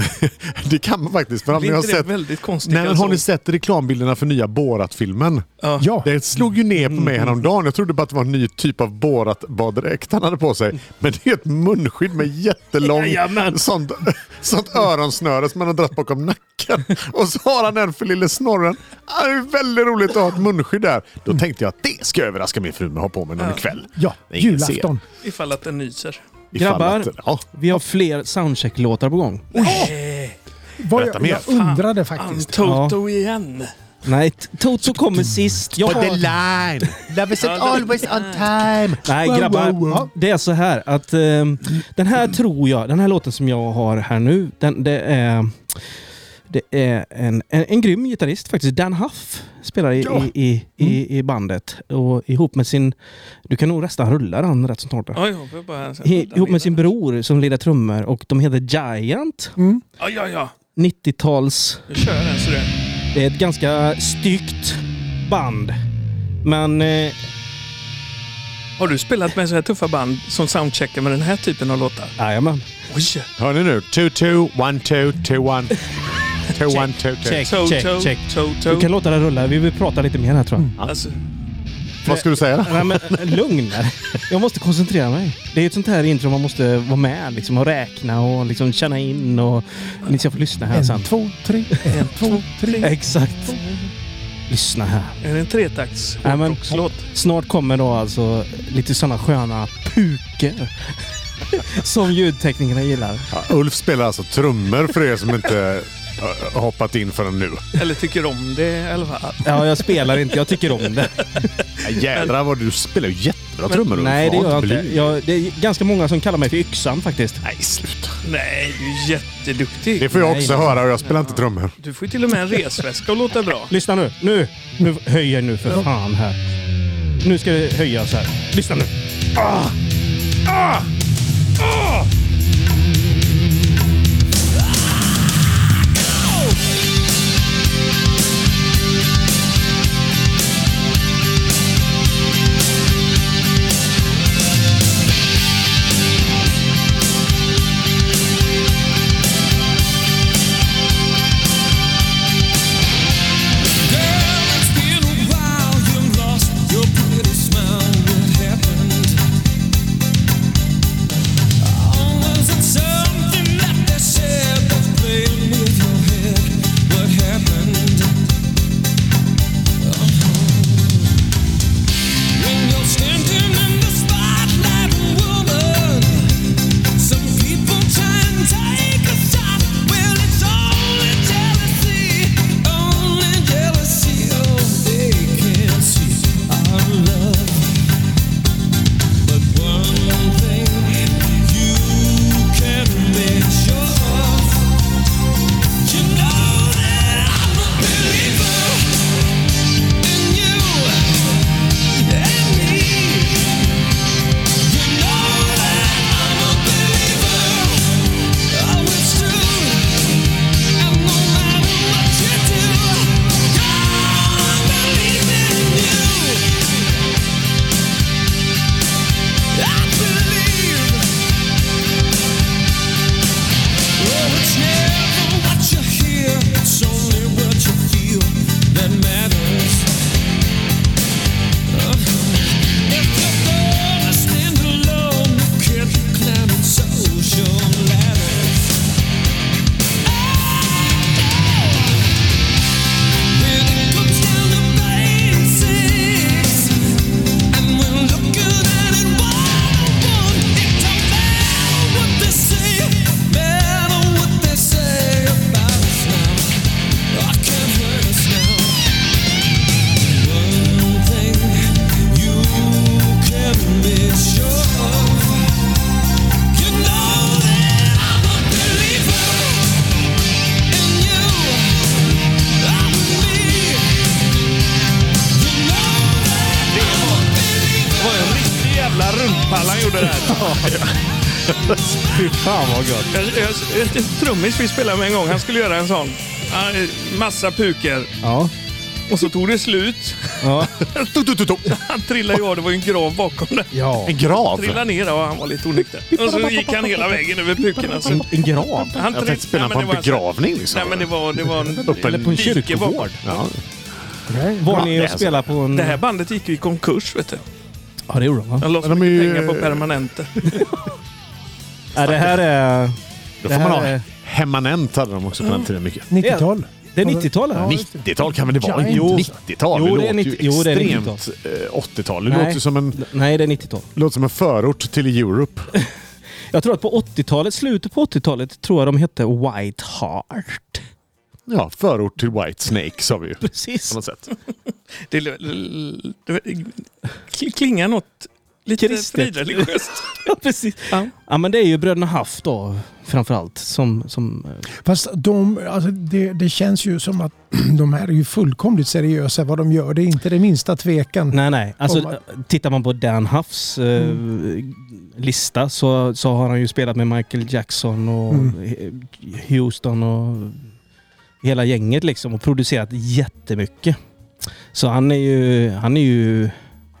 A: det kan man faktiskt. För om ni
C: Blir
A: har
C: inte det
A: sett,
C: väldigt konstigt?
A: nej, men har
C: alltså?
A: ni sett reklambilderna för nya Borat-filmen?
C: ja.
B: Ja,
A: Det slog ju ner på mig häromdagen. Jag trodde bara att det var en ny typ av Borat-baddräkt han hade på sig. Men det är ett munskydd med jättelång
D: Jajamän.
A: sånt, sånt öronsnöre som man har dragit bakom nacken. Och så har han den för lille snorren. Ah, Det är väldigt roligt att ha ett munskydd där. Då tänkte jag att det ska jag överraska min fru med att ha på mig någon
C: Ja.
A: kväll.
B: ja
A: Nej, ingen ser.
B: julafton.
C: Ifall att den nyser.
A: Ifall
D: Grabbar.
A: Att, ja,
D: Vi har fler soundcheck-låtar på gång.
C: Nej,
B: Vad
A: Berätta
B: jag,
A: mer.
B: jag undrade faktiskt.
C: Toto igen.
D: Nej, t- Toto kommer sist. Jag har...
A: line. Love is always on time.
D: Nej
B: Wow,
D: grabbar,
B: wow, wow.
D: det är så här att ehm, den här tror jag, den här låten som jag har här nu, den, det är, det är en, en, en grym gitarrist faktiskt. Dan Huff spelar i,
A: Ja.
D: i, i,
B: Mm.
D: i, i bandet och ihop med sin, du kan nog resten rulla den rätt snart. där.
C: Oj, jag får bara...
D: I- Ihop med sin bror som lirar trummor och de heter Giant.
B: Mm.
C: Ja, ja, ja.
D: 90-tals.
C: Nu kör den så du.
D: Det är ett ganska styggt band. Men eh,
C: Har du spelat med så här tuffa band som soundcheckar med den här typen av låtar?
D: jajamän.
C: Oj!
A: Hör ni nu? 2-2-1-2-2-1. 2-1-2-2.
D: Check,
C: Toto,
D: check, check. Du
C: Toto.
D: kan låta den rulla. Vi vill prata lite mer här tror jag.
C: Alltså,
A: Vad ska du säga? då?
D: Nej, men, eh, lugn. Mm. Jag måste koncentrera mig. Det är ju ett sånt här intro man måste vara med liksom, och räkna och liksom, känna in. Och... Ni ska få lyssna här sen.
B: En, två, tre, en, två, tre.
D: Exakt. Lyssna här.
C: är det en tretakts
D: Nej, men-
C: hårdrockslåt?
D: Snart kommer då alltså lite sådana sköna puker. Som ljudteknikerna gillar.
A: Ja, Ulf spelar alltså trummor för er som inte eh, hoppat in förrän nu.
C: Eller tycker om det i alla fall.
D: Ja, jag spelar inte. Jag tycker om det.
A: Ja, Jädrar vad du spelar ju jättebra trummor Ulf.
D: Nej, det
A: Var
D: gör jag inte.
A: blyg.
D: Jag, det är ganska många som kallar mig för Yxan faktiskt.
A: Nej, sluta.
C: Nej, du är jätteduktig.
A: Det får jag
D: Nej,
A: också
D: nej.
A: höra och jag spelar inte trummor.
C: Du får ju till och med en resväska att låta bra.
D: Lyssna nu. Nu, nu höjer nu för fan här. Nu ska det höjas här. Lyssna nu.
F: What happened? Oh, Oh,
D: Fy fan vad gött.
C: Jag, jag, ett trummis vi spelade med en gång, han skulle göra en sån. Ja, Massa puker.
D: Ja.
C: Och så tog det slut.
D: Ja.
A: Tu, tu, tu, tu.
C: Han trillade ju av, det var ju en grav bakom det.
D: ja.
A: En grav?
C: Trillade ner och han var lite onykter. Och så gick han hela vägen över pukorna. Så
D: En, en grav.
C: han
A: Jag
C: trill-
A: tänkte spela
C: Nej,
A: på
C: men
A: en
C: det
D: alltså-
C: var-
A: begravning liksom.
C: Nej men det var, det var
A: Upp en-
C: en,
A: Eller
D: På en
C: dike bakom.
D: kyrkogård.
A: Ja.
D: Var ni
A: det är
D: och
A: så.
D: spelade på en...
C: Det här bandet gick ju i konkurs vet du.
D: Ja, det gjorde de va?
C: De la så
A: Men de är
C: mycket
A: ju-
C: pengar på permanenter.
D: Ja, det här är...
A: Då
D: Det
A: får man
D: här
A: ha
D: är-
A: Hemanent hade de också på den tiden mycket.
B: 90-tal.
D: Det är 90-talet.
B: Ja.
A: 90-tal kan väl det vara?
B: Giant.
A: Jo. 90-tal?
D: Jo,
A: det,
D: det är
A: låter
D: 90 jo, det är
A: ju
D: 90-tal.
A: extremt eh, 80-tal. Det
D: Nej.
A: låter som, en,
D: Nej, det är 90-tal.
A: låter som en förort till Europe.
D: Jag tror att på 80-talet, slutet på 80-talet, tror jag de hette White Heart.
A: Ja, förort till White Snake sa vi ju. På
D: Precis.
A: något sätt.
C: Det, l- l- det klingar något lite
D: Kristet.
C: frireligiöst.
D: Ja, precis.
C: Ja.
D: Ja, men det är ju bröderna Haff då, framförallt. Som, som, eh,
B: Fast de, alltså det, det känns ju som att de här är ju fullkomligt seriösa vad de gör. Det är inte det minsta tvekan.
D: nej, nej. Alltså,
B: Om man-
D: eh, Tittar man på Dan Haffs eh, lista så, så har han ju spelat med Michael Jackson och eh, Houston och hela gänget liksom och producerat jättemycket. Så han är ju... Han är ju...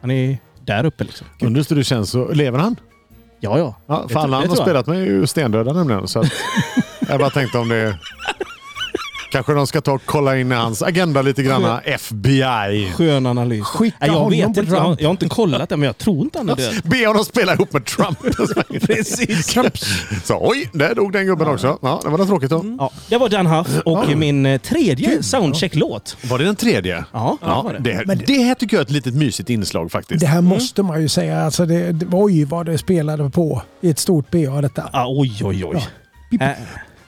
D: Han är där uppe liksom.
A: Undrar hur det känns. Så, lever han?
D: Ja, ja.
A: Ja,
D: Det
A: för
D: tro-
A: alla han
D: det
A: har
D: tror jag.
A: spelat med är ju stendöda nämligen. Så att jag bara tänkte om det... Kanske de ska ta och kolla in i hans agenda lite grann. FBI.
D: Skön analys.
B: Skicka
D: Nej, jag
B: honom
D: vet
B: på
D: inte. Jag, har-
B: Trump.
D: jag har inte kollat det, men jag tror inte han är död.
A: Be honom spela ihop med Trump.
D: Precis.
A: Så, oj, där dog den gubben också. Ja, Mm. det var det tråkigt då.
D: Ja, det var Dan Huff och min eh, tredje soundcheck-låt.
A: Var det den tredje?
D: Ja, det var
A: Ja,
D: det.
A: det, det här tycker jag är ett litet mysigt inslag faktiskt.
B: Det här
D: Mm.
B: måste man ju säga. Alltså det, det, oj, vad det spelade på i ett stort BA detta.
D: Ah, oj, oj, oj.
B: Pip-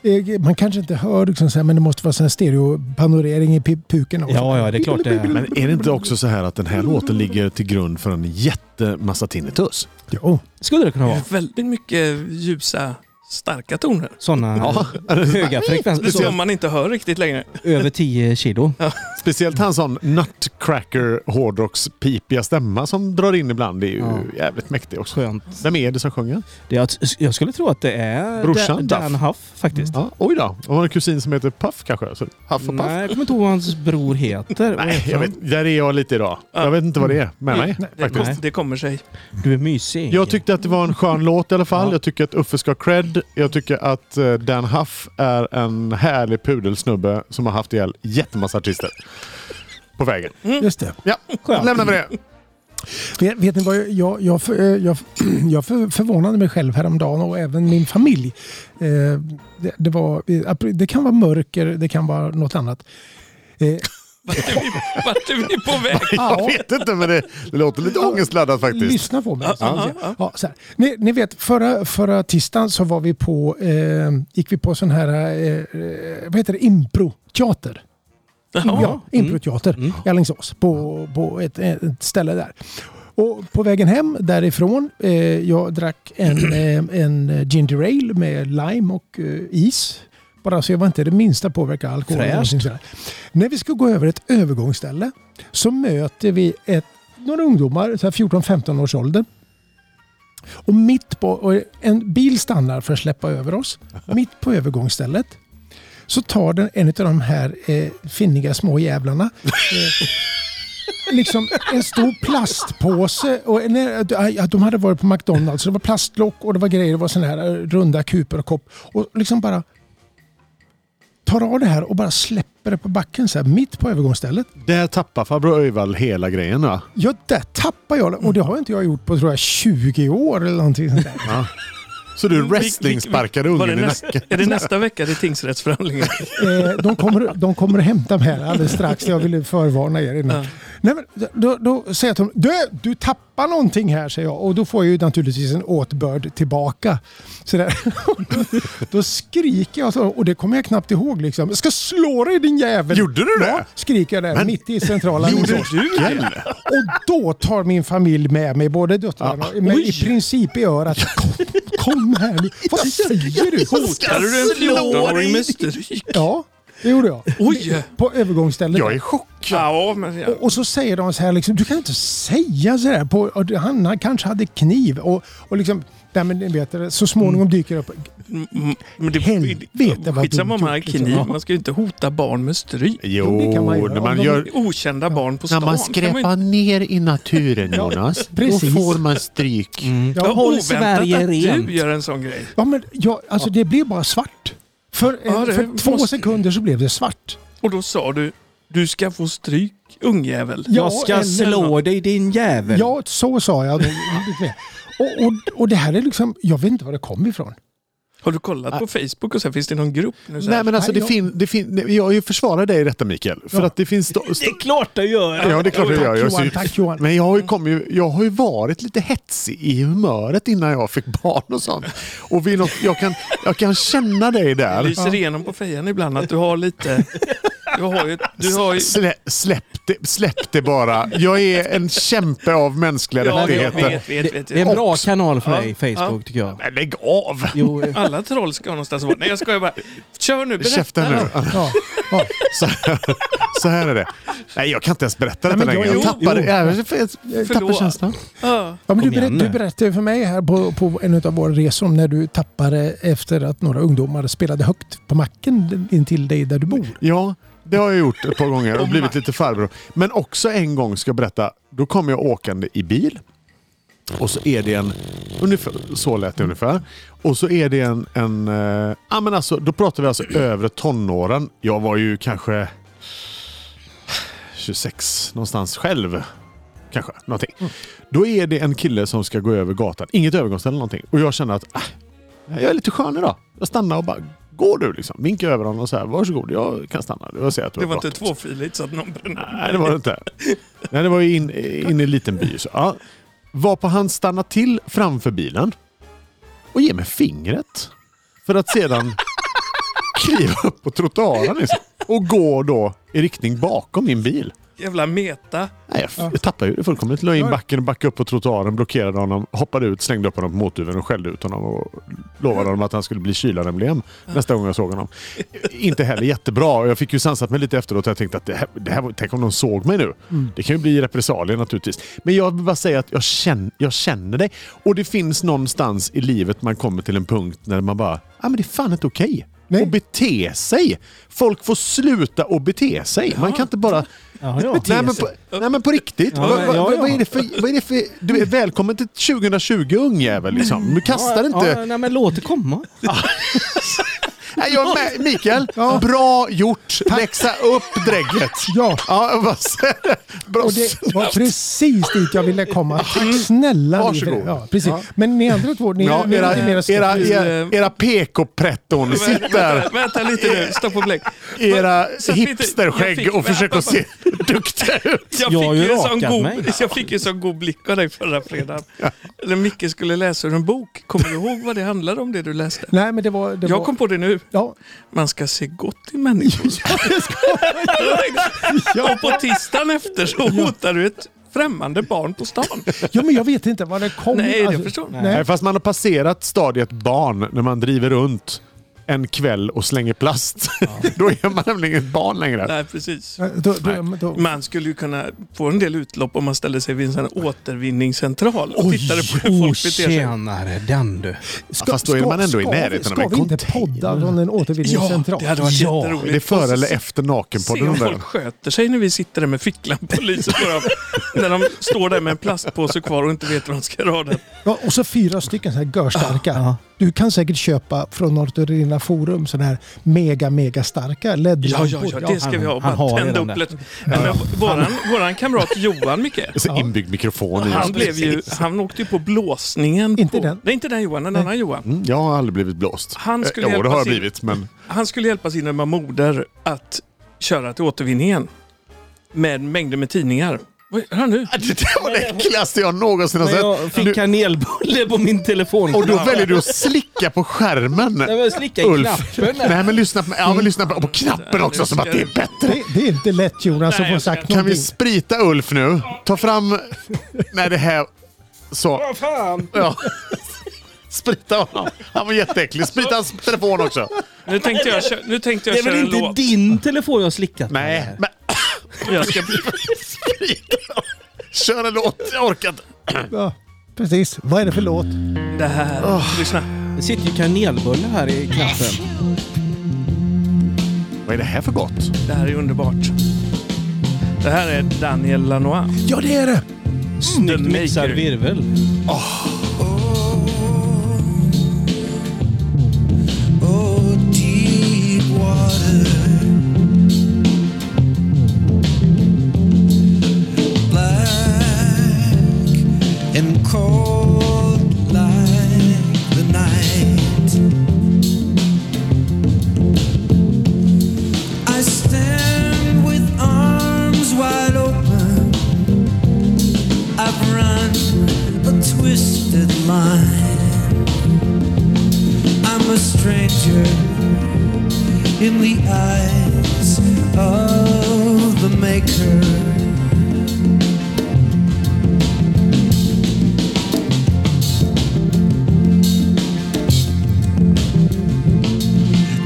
D: Äh,
B: eh, Man kanske inte hör liksom så här, men det måste vara sån här stereopanorering i pi- puken också.
D: ja, ja, det är klart det är.
A: Men är det inte också så här att den här låten ligger till grund för en jättemassa tinnitus?
B: Jo.
D: Skulle det kunna vara.
C: Väldigt mycket ljusa, starka toner.
D: Sådana höga frekvenser.
C: Som
D: Så,
C: man inte hör riktigt längre.
D: över 10 kilo.
A: Speciellt hans sån nutcracker hårdrocks pipiga stämma som drar in ibland. Det är ju
D: Ja.
A: jävligt mäktigt också.
D: Skönt.
A: Vem är det som sjunger?
D: Det, jag, jag skulle tro att det är
A: Brorsan
D: Dan, Dan
A: Duff.
D: Huff faktiskt.
A: Ja, oj då. Om man har en kusin som heter Puff kanske? Så Huff och Puff?
D: Nej, jag kommer inte ihåg vad hans bror heter. Vad
A: Nej,
D: heter
A: jag
D: han?
A: vet, där är jag lite idag. Jag vet inte vad det är med mig.
C: Det,
A: faktiskt.
C: måste, det kommer sig.
D: Du är mysig.
A: Jag tyckte att det var en skön låt i alla fall.
D: Ja.
A: Jag tycker att Uffe ska ha cred. Jag tycker att eh, Dan Huff är en härlig pudelsnubbe som har haft ihjäl jättemassa artister. På vägen.
B: Mm. Just det.
A: Ja,
D: Skönt.
A: lämnar vi det.
B: Vet, vet ni vad jag, jag, jag, för- eh, jag, jag för, förvånade mig själv häromdagen och även min familj. Eh, det, det, var, eh, det kan vara mörker, det kan vara något annat. Eh,
C: Vart är vi, vart är vi på väg?
A: Jag vet inte, men det, det låter lite ångestladdat faktiskt.
B: Lyssna på mig.
C: Ja,
B: Ja, så här. Ni, ni vet, förra, förra tisdagen så var vi på, eh, gick vi på sån här, eh, eh, vad heter det, improteater. Ja, improteater i Alingsås på, på ett, ett ställe där. Och på vägen hem därifrån, eh, jag drack en, eh, en ginger ale med lime och eh, is. Bara så jag var inte det minsta påverkad av alkohol. eller
D: Fräscht.
B: någonting sådär. När vi ska gå över ett övergångsställe så möter vi ett, några ungdomar, så här 14-15 års ålder. Och mitt på, och en bil stannar för att släppa över oss. Mitt på övergångsstället så tar den en av de här eh, finniga små jävlarna eh, liksom en stor plastpåse. Och en, ja, de hade varit på McDonalds så det var plastlock och det var grejer. Det var såna här eh, runda kuper och kopp. Och liksom bara tar av det här och bara släpper det på backen så här mitt på övergångsstället.
A: Där tappar farbror Öjvall hela grejen va?
B: Ja, där tappar jag det. Och det har inte jag gjort på tror jag 20 år eller någonting sånt där.
A: Så du wrestlingsparkade
C: Var det
A: ungen i
C: nästa-
A: nacken.
C: Är det nästa vecka det är tingsrättsförhandlingar?
B: Eh, de, kommer, de kommer att hämta mig här alldeles strax. Jag ville förvarna er innan.
C: Ja.
B: Nej, men då, då säger jag till honom, du, du tappar någonting här, säger jag. Och då får jag ju naturligtvis en åtbörd tillbaka. Så där. då skriker jag, så, och det kommer jag knappt ihåg. Liksom. Jag ska slå dig din jävel!
A: Gjorde du det?
B: Ja, skriker jag där mitt i centrala
A: Gjorde
B: Alingsås.
A: du det?
B: Och då tar min familj med mig, både döttrarna och men i princip i örat. Kom, kom här nu. Vad
A: Alltså,
B: säger du?
C: Hotar du en 14-åring med stryk?
B: Ja, det gjorde jag.
C: Oj!
B: På övergångsstället.
A: Jag är i chock.
C: Ja, men ja.
B: Och- Och så säger de så här, liksom, du kan inte säga så här. På, och han, han kanske hade kniv. Och, och liksom, Nej, men ni vet, det, så småningom dyker det upp.
C: Mm, Men det,
B: Helvete, vad
C: skitsamma om
B: dumt
C: man har
B: gjort, liksom.
C: kniv,
B: Ja.
C: man ska ju inte hota barn med stryk.
B: Jo, det kan man göra.
A: när
B: Om
A: man
B: de-
A: gör...
C: Okända barn på
F: När
C: stan.
F: man
C: kan man ju-
F: skräpar ner i naturen Jonas, då
B: precis.
F: får man stryk.
A: Mm.
C: Ja,
B: Ja,
D: Håll
C: oväntat
D: Sverige
C: att
D: rent.
C: du gör en sån grej.
B: ja, men, ja, alltså, det blir bara svart. För, eh,
C: Ja, det
B: för två
C: måste-
B: sekunder så blev det svart.
C: Och då sa du, du ska få stryk ungjävel.
D: Jag ska
B: eller-
D: slå dig din jävel.
B: Ja, så sa jag. Och, och, och det här är liksom, jag vet inte var det kom ifrån.
C: Har du kollat på Facebook och sen finns det någon grupp nu? Så här,
A: Nej men alltså, det
B: Nej,
A: fin, det fin, jag försvarar dig i detta Mikael. För
B: Ja.
A: att det finns... Sto,
D: Det
A: sto,
D: är klart du gör!
A: ja det är klart jag gör. Jag är
B: Tack Johan,
A: sur.
B: tack Johan.
A: Men jag har, ju kommit, jag har ju varit lite hetsig i humöret innan jag fick barn och sånt. Och vid något, jag, kan, jag kan känna dig
C: det
A: där.
C: lyser igenom på fejan ibland att du har lite... Du har ju... Du har ju
A: Slä, släpp, det, släpp det bara. Jag är en kämpe av mänskliga
C: ja, vet,
A: rättigheter.
C: vet,
D: Det,
C: vet, vet,
D: det är en bra
A: Också-
D: kanal för
C: Ja,
D: dig, Facebook, tycker jag.
A: Men lägg av!
D: Jo, eh,
C: Alla troll ska någonstans vara. Nej jag skojar bara. Kör nu, berätta.
A: Käften nu.
B: Ja, ja.
A: Så här, så här är det. Nej, jag kan inte ens berätta detta
B: Nej, men
A: längre.
B: jag-
A: Jag
B: jo,
A: tappar,
B: jo.
A: jag, jag, jag tappar
C: Förlåt.
A: känslan.
C: Ja.
B: Ja, men du,
D: Kom igen
B: berätt,
D: nu.
B: du berättade ju för mig här på, på en av våra resor om när du tappade efter att några ungdomar spelade högt på macken intill dig där du bor.
A: Ja, det har jag gjort ett par gånger och blivit lite farbror. Men också en gång ska jag berätta, då kom jag åkande i bil. Och så är det en, ungefär, så lät det ungefär. Och så är det en, en eh, ja men alltså, då pratar vi alltså övre tonåren. Jag var ju kanske 26 någonstans själv. Kanske, någonting.
C: Mm.
A: Då är det en kille som ska gå över gatan. Inget övergångsställe eller någonting. Och jag känner att ah, jag är lite skön idag. Jag stannar och bara, går du liksom? Vinkar över honom och säger varsågod, jag kan stanna. Jag ser att du
C: Det
A: har
C: var inte
A: bråttom."
C: tvåfiligt så att någon brände.
A: Nej, det var det inte. Nej, det var ju in, in i en liten by. Så, ja. Var på han stanna till framför bilen och ge mig fingret. För att sedan kliva upp på trottoaren liksom, och gå då i riktning bakom min bil.
C: Jävla meta.
A: Nej, jag, f- jag tappade ju det fullkomligt. La in backen, backade upp på trottoaren, blockerade honom, hoppade ut, slängde upp honom på motorhuven och skällde ut honom och lovade honom att han skulle bli kylaremblem nästa gång jag såg honom. Inte heller jättebra. och Jag fick ju sansat mig lite efteråt och jag tänkte att det här, det här, var- tänk om de såg mig nu. Det kan ju bli repressalier naturligtvis. Men jag vill bara säga att jag känner, jag känner dig. Och det finns någonstans i livet man kommer till en punkt när man bara, ah, men det är fan inte okej.
B: Nej.
A: Att bete sig. Folk får sluta att bete sig. Man kan inte bara...
D: Ja, ja.
A: Nej, men på, nej men på riktigt.
D: Ja,
A: vad, vad,
D: ja, ja.
A: Vad, är det för, vad är det för... Du är välkommen till 2020 ungjävel liksom. Du kastar
D: Ja,
A: inte...
D: nej, men låt det komma.
A: Nej, jag är med, Mikael, bra gjort. Växa upp drägget.
B: Ja.
A: Ja, jag bara säger det. Bra.
B: Och det var precis dit jag ville komma. Tack snälla ni för det.
A: Varsågod.
B: Ja, precis. Men ni andra två, ni
A: Ja,
B: ni är
A: era,
B: lite mer
A: era, era, era PK-pretton
C: Vänta,
A: sitter
C: vänta lite nu, stoppa och bläck.
A: era
C: Så att vi inte- jag
A: hipsterskägg
C: fick-
A: och försöker se duktiga ut.
C: Jag
D: Jag har
C: fick,
D: ju
C: ju en sån
D: rakat
C: god,
D: mig.
C: jag fick ju sån god blick av dig förra fredagen. När Micke skulle läsa ur en bok. Kommer du ihåg vad det handlade om det du läste?
B: Nej, men det var... Det
C: Jag
B: var
C: kom på det nu.
B: ja,
C: Man ska se gott i människor. Och på tisdagen efter så hotar du ett främmande barn på stan.
B: ja, men jag vet inte var det kom.
C: Nej, det
B: Alltså,
C: förstår jag.
D: Nej.
A: Nej, fast man har passerat stadiet barn när man driver runt en kväll och slänger plast. Då är man nämligen ett barn längre.
C: Nej, precis.
B: Då, då, då,
C: Man skulle ju kunna få en del utlopp om man ställde sig vid en sån här återvinningscentral och tittade på hur
D: oh,
C: folk beter sig.
D: tjänare den du.
B: ska,
A: fast då är man ändå i
B: vi-
A: närheten av
B: Ska
A: en
B: vi inte
A: container.
B: podda från en återvinningscentral?
C: det hade varit
D: Ja,
A: Är
C: jätteroligt.
A: det före eller
C: Och
A: efter
C: Se
A: nakenpodden?
C: om
A: undrar
C: folk
A: jag?
C: sköter sig när vi sitter där med ficklampor och lyser på dem. när de står där med en plastpåse kvar och inte vet vad de ska rada.
B: Ja, och så fyra stycken så här görstarka. Du kan säkert köpa från något av dina forum sådana här mega, mega starka
C: Ja,
B: LED-lampor.
C: ja, ja, det ska vi ha.
D: han har
C: Bara tända
D: redan
C: upp
D: det.
C: lite. Nej, men Våran, våran kamrat Johan, Micke,
A: Så inbyggd mikrofon i
C: han,
A: oss.
C: blev ju, han åkte ju på blåsningen.
B: Inte
C: på,
B: den.
C: Nej, inte den Johan, en annan Johan.
A: Mm, Jag har aldrig blivit blåst.
C: Han skulle
A: Eh, jo, det
C: hjälpa
A: har jag
C: till.
A: blivit, men
C: Han skulle hjälpa sin ömma moder att köra till återvinningen med mängder med tidningar. Vad gör han nu?
A: det där var det äckligaste jag någonsin har
D: Men jag
A: sett.
C: Alltså,
D: fick
A: Du,
D: kanelbulle på min telefon.
A: och då väljer du att slicka på skärmen.
D: Nej, men slicka i knappen där.
A: Nej, men lyssna, på, ja, men lyssna på, på knappen också som att det är bättre.
B: Det, det är inte lätt Jonas att
C: Nej,
B: få
C: jag ska-
B: sagt
A: alltså, Kan vi
B: någonting.
A: sprita Ulf nu? Ta fram... Nej, det här... Så.
D: Vad fan?
A: Ja. Sprita honom. Han var jätteäcklig. Sprita hans telefon också.
C: Nu tänkte jag, kö- nu tänkte
D: Det
C: jag
D: är
C: köra
D: väl
C: en
D: inte
C: låt.
D: din telefon jag har slickat på
A: Nej,
D: här?
A: men
C: Jag ska
A: sprita honom. Kör en låt. Jag orkar inte.
B: Ja, precis. Vad är det för låt?
C: det här. Lyssna.
D: Det sitter ju kanelbulle här i knappen.
A: Vad är det här för gott?
C: Det här är underbart. Det här är Daniel Lanois.
B: Ja, det är det!
D: Snyggt
C: The
D: mixad
C: Maker.
D: virvel.
F: Oh, deep water. Black and cold like the night. I stand with arms wide open. I've run a twisted line. I'm a stranger in the eyes of the maker.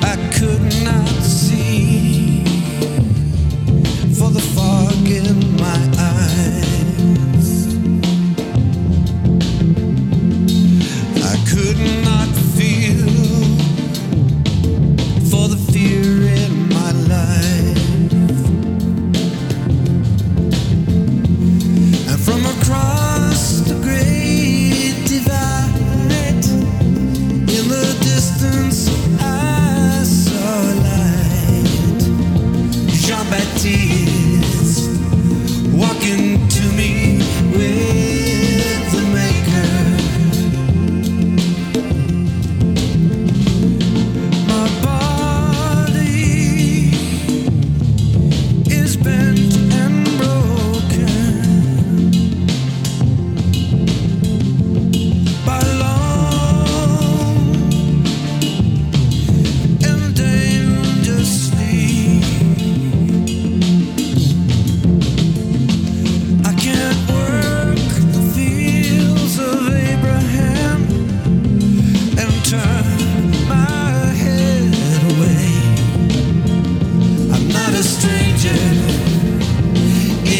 F: I could not see for the fog in my eyes. I could not feel for the fear in my life. And from across the great divide, in the distance I saw light. Jean Baptiste walking to me with the maker. My body is bent and broken by long and dangerous I can't work the fields of Abraham and turn my head away. I'm not a stranger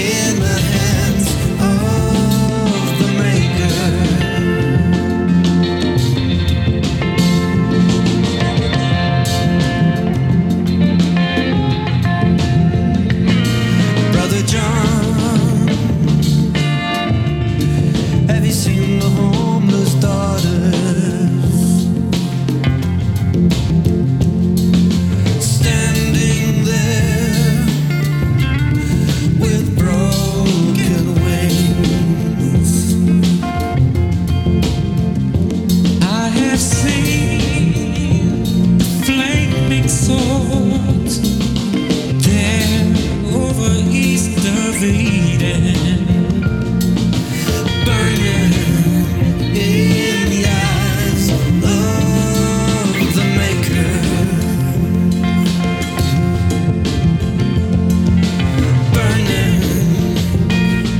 F: in the hands of the maker. Brother John, have you seen the homeless daughters? standing there with broken wings. I have seen flaming swords there over east of Eden, burning in the eyes of the Maker. burning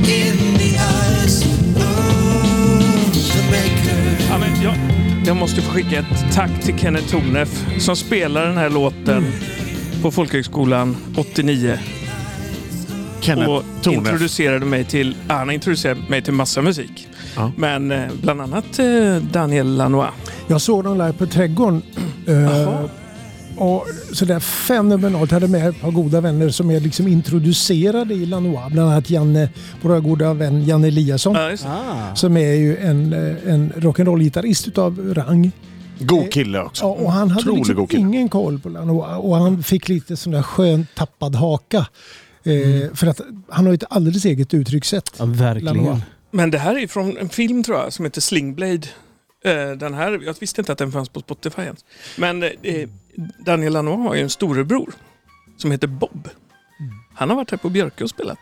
F: in the eyes of the maker.
C: Ja, men jag, jag måste få skicka ett tack till Kenneth Tornef som spelar den här låten
D: Mm.
C: på Folkhögskolan 89 och
A: Kenneth Tornef.
C: introducerade mig till, ja, han introducerade mig till massa musik.
A: Ja.
C: Men eh, bland annat eh, Daniel Lanois.
B: Jag såg dem live på Trädgården. Eh, och sådär fenomenalt. Hade med ett par goda vänner som är liksom introducerade i Lanois. Bland annat Janne, våra goda vän Janne Eliasson.
C: Ja, just det.
D: Ah.
B: Som är ju en, eh, en rock'n'roll-gitarrist utav rang.
A: God kille
B: Ja,
A: också.
B: och han hade
A: Otrolig
B: liksom
A: god kille.
B: ingen koll på Lanois och han fick lite sån där skön tappad haka. Eh, För att han har ju ett alldeles eget uttryckssätt.
D: Ja, verkligen.
B: Lanois.
C: Men det här är från en film tror jag som heter Slingblade. Eh, Den här, jag visste inte att den fanns på Spotify ens. Men eh, Daniel Lanois har ju en storebror som heter Bob. Han har varit här på Björke och spelat.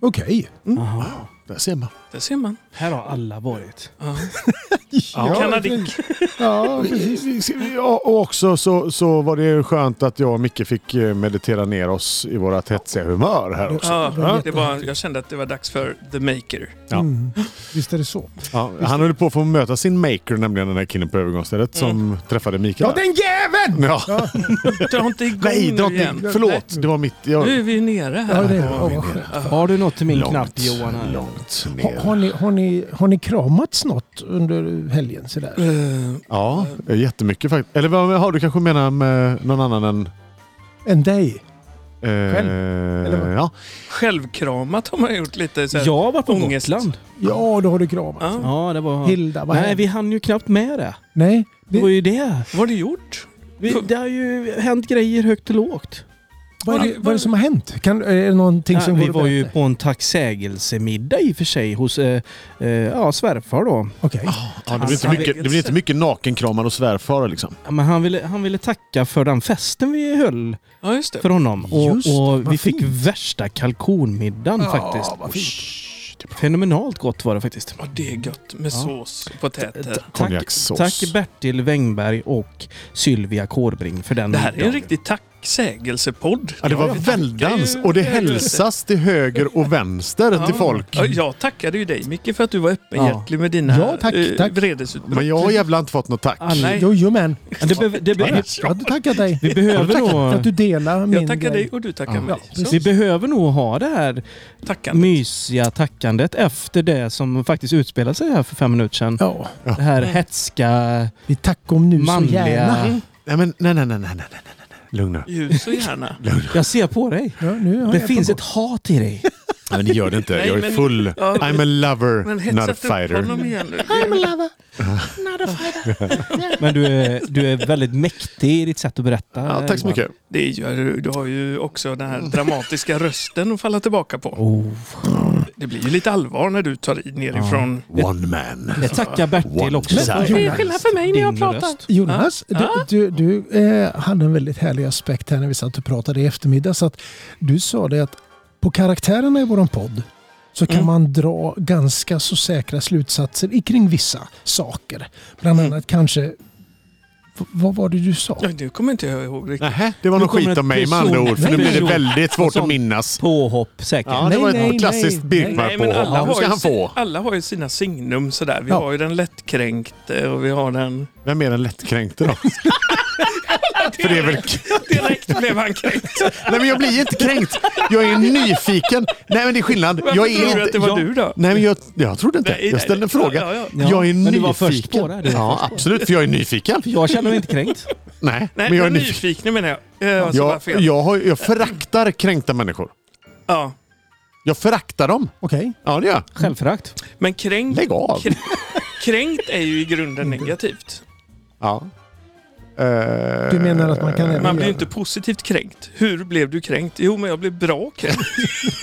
B: Okej.
D: Aha.
A: Där ser man.
C: Där ser man.
D: Här har alla varit.
C: Ja.
B: Ja,
C: Kanadick.
B: Ja,
A: Ja, och också så, så var det skönt att jag och Micke fick eh, meditera ner oss i vårat hetsiga humör här också.
C: Ja, det var, jag kände att det var dags för The Maker.
A: Ja.
B: Mm. Visst är det så.
A: Ja, han höll på att få möta sin maker, nämligen den här killen på övergångsstället som träffade Mikael.
B: Ja, den jäveln!
A: Mm. Ja.
C: Dra inte igång
A: Nej, dra
C: nu
A: inte,
C: igen.
A: förlåt. Det var mitt...
C: Nu
A: Jag,
C: är vi nere här. Ah.
B: Ja, det är, ja, vad skönt.
D: Har du något till min knapp Johan? här?
A: långt ner.
B: Har ni, har, ni, har ni kramats något under helgen? Sådär?
C: Eh,
A: Ja, jättemycket faktiskt. Eller vad har du kanske menar med någon annan än...
B: En dig?
A: Eh,
B: Själv? vad?
A: ja.
C: självkramat har man gjort lite. Så här.
D: Jag har varit på
C: ångest.
D: Gotland.
B: Ja, då har du kramat.
C: Ja.
D: Ja, det var...
B: Hilda, vad
D: Nej,
B: hände?
D: vi hann ju knappt med det.
B: Nej,
D: Det var
B: det,
D: ju det.
C: Vad har du gjort?
D: Vi, det har ju hänt grejer högt och lågt.
B: vad, är det, vad är det som har hänt? Kan, är det någonting
D: Nej,
B: som
D: vi
B: går att
D: var ju
B: berätta?
D: på en tacksägelsemiddag i och för sig hos eh, eh, ja, svärfar då.
B: Okej.
A: Ja, det, blir
C: Alltså,
A: inte mycket, det blir inte mycket nakenkramar och svärfar liksom.
D: Ja, men han, ville, han ville tacka för den festen vi höll
C: Ja, just det.
D: för honom. Och,
B: Just det, vad
D: och vi fick
B: fint.
D: värsta kalkonmiddagen faktiskt.
B: vad fint.
D: Fenomenalt gott var det faktiskt.
C: Ja, det är gött med sås och
D: Ta-
C: potäter.
D: Tack,
A: Konjakssås.
D: tack Bertil Wängberg och Sylvia Kårbring för den
C: Det här är en
D: middagen.
C: riktig tacksägelsepodd.
A: Ja, det var väldans och det hälsas till höger och vänster till folk.
C: Ja, jag tackade ju dig Micke för att du var öppenhjärtig med dina
B: Ja, tack,
C: eh,
B: tack.
C: vredesutbrott. Ah,
A: Men jag har jävla inte fått något tack.
D: Alla-
C: Nej.
B: Jo, jo, men.
D: Det be, det be,
B: Jag hade tackat dig.
D: vi
A: Har du
D: behöver
A: tackat?
B: För
D: nog...
B: att du delar min
C: Jag tackar dig
B: grej.
C: och du tackar
D: Ja,
C: mig.
B: precis.
C: Så,
D: Vi behöver nog ha det här
C: tackande.
D: mysiga tackandet efter det som faktiskt utspelade sig här för fem minuter sedan.
B: Ja,
D: Det här hetska,
B: vi tackar om nu så gärna.
D: manliga... Mm.
A: Nej, men nej, nej, nej, nej, nej, nej, nej, nej. Lugn nu.
C: Ljus och gärna.
D: Jag ser på dig.
B: Ja, nu har
D: Det
B: jag
D: finns
B: tagit
D: ett hat i dig.
A: Nej, men det gör det inte.
C: Nej,
A: Jag är
C: men-
A: full.
C: Ja,
A: I'm a lover,
C: Men
A: not
C: hetsa
A: a
C: inte upp honom
A: fighter.
C: igen nu.
D: Men du är, du är väldigt mäktig i ditt sätt att berätta.
A: Ja, tack så
D: Johan.
A: mycket.
C: Det gör du. Du har ju också den här dramatiska rösten att falla tillbaka på.
D: Oh.
C: Det blir ju lite allvar när du tar i nerifrån.
A: One man.
D: Jag tackar Bertil
A: One
D: också.
A: side.
B: Det är skillnad
D: för mig när jag pratar.
B: Jonas, du, du, du eh, hade en väldigt härlig aspekt här när vi satt och pratade i eftermiddag. Så att du sa det att på karaktärerna i våran podd så kan man dra ganska så säkra slutsatser i- kring vissa saker. Bland annat kanske... v- Vad var det du sa?
C: Ja, nu kommer inte jag ihåg riktigt.
A: Nähä, det var
D: Nu
A: något
D: kommer
A: skit om
D: ett
A: mig med andra
D: person-
A: ord. För nu blir det
D: person-
A: väldigt svårt
C: Alltså-
A: att
D: sånt.
A: minnas.
D: Påhopp säkert.
A: Ja, det
B: Nej,
A: var
B: nej,
A: ett klassiskt
B: nej.
A: Birkmark på. Nu ska
C: ju
A: han
C: si-
A: få.
C: alla har ju sina signum sådär. Vi
B: Ja.
C: har ju den lättkränkte och vi har den...
A: Vem är den lättkränkte då? För det är väl...
C: Direkt blev han kränkt.
A: Nej men jag blir inte kränkt. Jag är nyfiken. Nej men det är skillnad.
C: Varför
A: Jag
C: tror
A: är
C: du att
A: inte...
C: det var
A: jag...
C: du då?
A: Nej men jag, jag trodde inte.
C: Nej, nej,
A: jag ställde en
C: nej.
A: fråga.
C: Ja, ja,
D: ja.
A: Jag är
D: Men du
A: nyfiken.
D: var först på det, du var
A: ja absolut, för jag är nyfiken.
D: Jag känner mig inte kränkt.
A: Nej,
C: Nej,
A: men jag är
C: men
A: nyfiken.
C: nyfiken menar jag. Eh, alltså,
A: Jag,
C: vad fel.
A: jag, har, jag föraktar kränkta människor.
C: Ja.
A: Jag föraktar dem.
B: Okej.
A: Ja det gör jag.
D: Självförakt.
C: Men kränkt,
A: Lägg av.
C: kränkt är ju i grunden negativt.
A: Ja. Eh,
B: Du menar att man kan även
C: Man blir ju
B: göra-
C: inte positivt kränkt. Hur blev du kränkt? Jo, men jag blev bra kränkt.